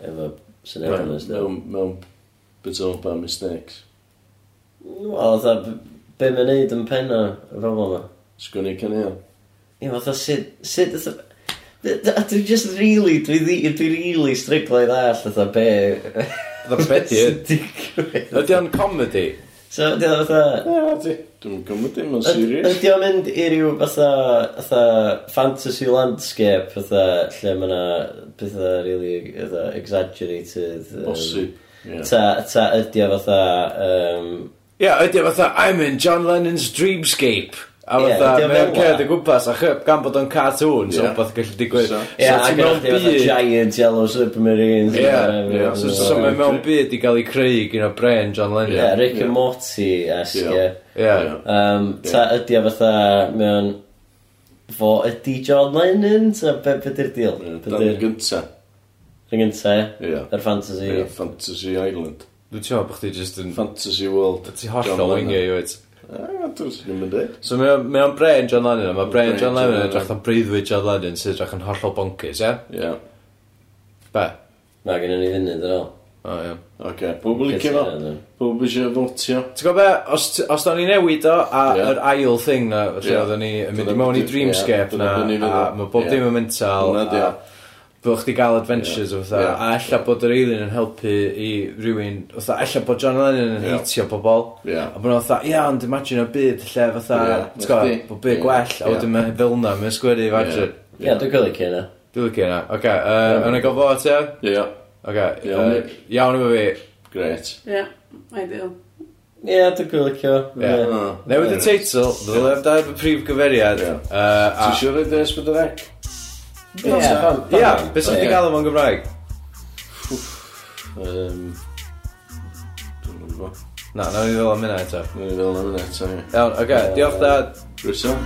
[SPEAKER 2] efo syniadau nes dweud.
[SPEAKER 5] Mewn, mewn bit o ba mistakes.
[SPEAKER 2] Wel, fatha, b- be mae'n neud yn penna y pobl yma?
[SPEAKER 5] Sgwni canel.
[SPEAKER 2] Ie, fatha, sut, sut, fatha... d- d- Dwi just really, dwi ddi- dwi really striglau ddall, fatha,
[SPEAKER 4] [LAUGHS]
[SPEAKER 2] be...
[SPEAKER 4] Dda bedi
[SPEAKER 2] sy'n digwydd.
[SPEAKER 4] Ydy o'n comedy?
[SPEAKER 2] So, ydy o fatha...
[SPEAKER 5] Ie, ti. Dwi'n gwybod dim yn
[SPEAKER 2] yd-
[SPEAKER 5] serious.
[SPEAKER 2] Ydy o'n mynd i ryw fatha, fatha fantasy landscape, fatha, lle mae yna pethau really, fatha, exaggerated... yym,
[SPEAKER 5] Bosib. Ie.
[SPEAKER 2] Ta, ta ydi o fatha... Um,
[SPEAKER 4] Ie, ydy o fatha, I'm in John Lennon's dreamscape. A
[SPEAKER 2] Ie,
[SPEAKER 4] fatha,
[SPEAKER 2] ydi o
[SPEAKER 4] mae o'n
[SPEAKER 2] fel 'na?
[SPEAKER 4] cerdd y gwmpas, a chyb gan bod o'n cartoon, so
[SPEAKER 5] Ie.
[SPEAKER 4] beth gallu digwydd.
[SPEAKER 5] So-
[SPEAKER 2] Ie,
[SPEAKER 4] So
[SPEAKER 2] a
[SPEAKER 4] ti'n
[SPEAKER 2] gyda
[SPEAKER 4] mewn
[SPEAKER 2] chdi fatha
[SPEAKER 4] byd-
[SPEAKER 2] giant yellow submarines
[SPEAKER 4] Ie,
[SPEAKER 2] whatever,
[SPEAKER 5] ie,
[SPEAKER 4] So,
[SPEAKER 2] whatever.
[SPEAKER 4] so mae mewn byd i gael ei creu gyda Bren John Lennon.
[SPEAKER 2] Ie, Rick
[SPEAKER 5] Ie.
[SPEAKER 2] and Morty-esque,
[SPEAKER 5] Ie.
[SPEAKER 2] ie.
[SPEAKER 4] Ie.
[SPEAKER 2] Um, Ta ydi o fatha, mewn... Fo ydi John Lennon? Ta be, be di'r deal?
[SPEAKER 5] Ie,
[SPEAKER 2] Be
[SPEAKER 5] Dan y
[SPEAKER 2] di'r...
[SPEAKER 5] gynta.
[SPEAKER 2] Rhy'n gynta, ie?
[SPEAKER 5] Ie.
[SPEAKER 2] Yr fantasy.
[SPEAKER 5] Ie, Fantasy Island.
[SPEAKER 4] Dwi'n teimlo bod chdi jyst yn...
[SPEAKER 5] Fantasy World.
[SPEAKER 4] Ti'n hollol wingio i wyt.
[SPEAKER 5] Ah, dwi'n sy'n mynd dweud.
[SPEAKER 4] So mae o'n- mae o'n brain John Lennon, a mae brain
[SPEAKER 5] Brain
[SPEAKER 4] John Lennon
[SPEAKER 5] John
[SPEAKER 4] yn drach o breuddwyd John Lennon sy'n drach yn hollol bonkers, ie?
[SPEAKER 5] Ie.
[SPEAKER 4] Be?
[SPEAKER 2] Na, gynnu ni fynd yn ôl.
[SPEAKER 4] O, iawn.
[SPEAKER 5] Oce, pobl i cyfo. Pobl eisiau fotio.
[SPEAKER 4] Ti'n gwybod be, os, t- os da ni newid o, a
[SPEAKER 5] Ie.
[SPEAKER 4] yr ail thing na, lle
[SPEAKER 5] Ie.
[SPEAKER 4] oedden ni yn mynd i
[SPEAKER 5] Dyna
[SPEAKER 4] mewn i
[SPEAKER 5] beth-
[SPEAKER 4] Dreamscape
[SPEAKER 5] ie,
[SPEAKER 4] na,
[SPEAKER 5] dyna be ni'n
[SPEAKER 4] a
[SPEAKER 5] meddwl.
[SPEAKER 4] mae bob
[SPEAKER 5] Ie.
[SPEAKER 4] dim yn mental,
[SPEAKER 5] Hwnna di o.
[SPEAKER 4] a bod chdi gael adventures o fatha,
[SPEAKER 5] Ie.
[SPEAKER 4] a ella bod yr alien yn helpu i rywun, fatha, ella bod John Lennon yn
[SPEAKER 5] Ie.
[SPEAKER 4] heitio pobol,
[SPEAKER 5] Ie.
[SPEAKER 4] a bod nhw'n fatha, ia, ond imagine y byd lle fatha,
[SPEAKER 5] Ie,
[SPEAKER 4] ti'n gwybod,
[SPEAKER 5] chdi.
[SPEAKER 4] bod byd
[SPEAKER 5] Ie.
[SPEAKER 4] gwell,
[SPEAKER 5] Ie.
[SPEAKER 4] a wedyn mae fel na, mae'n sgwedi i fadjyn.
[SPEAKER 2] Ie, dwi'n gwybod cyn o.
[SPEAKER 4] Dwi'n lycio na. Oce, yn y gofod fo, te?
[SPEAKER 5] Ie.
[SPEAKER 4] Oce,
[SPEAKER 5] Iawn,
[SPEAKER 4] yy, iawn efo fi.
[SPEAKER 5] Gret.
[SPEAKER 3] Ie, ideal.
[SPEAKER 2] Ie, dwi'n gwybod
[SPEAKER 4] Ie.
[SPEAKER 2] cyn o.
[SPEAKER 5] Ah.
[SPEAKER 4] Newid y teitl, ddylai am dar y prif gyfeiriad.
[SPEAKER 5] Ie.
[SPEAKER 4] Yy, a-
[SPEAKER 5] Ti'n siŵr oedd es bydd yr e ec?
[SPEAKER 4] Ie, beth sy'n wedi
[SPEAKER 5] Ie.
[SPEAKER 4] gael o'n Gymraeg?
[SPEAKER 5] Yym... Dwi'n gwybod.
[SPEAKER 4] Na, na ni ddylai am hynna eto.
[SPEAKER 5] Dwi'n meddwl am hynny eto, ie.
[SPEAKER 4] Iawn, oce, diolch dad.
[SPEAKER 5] Rwyso?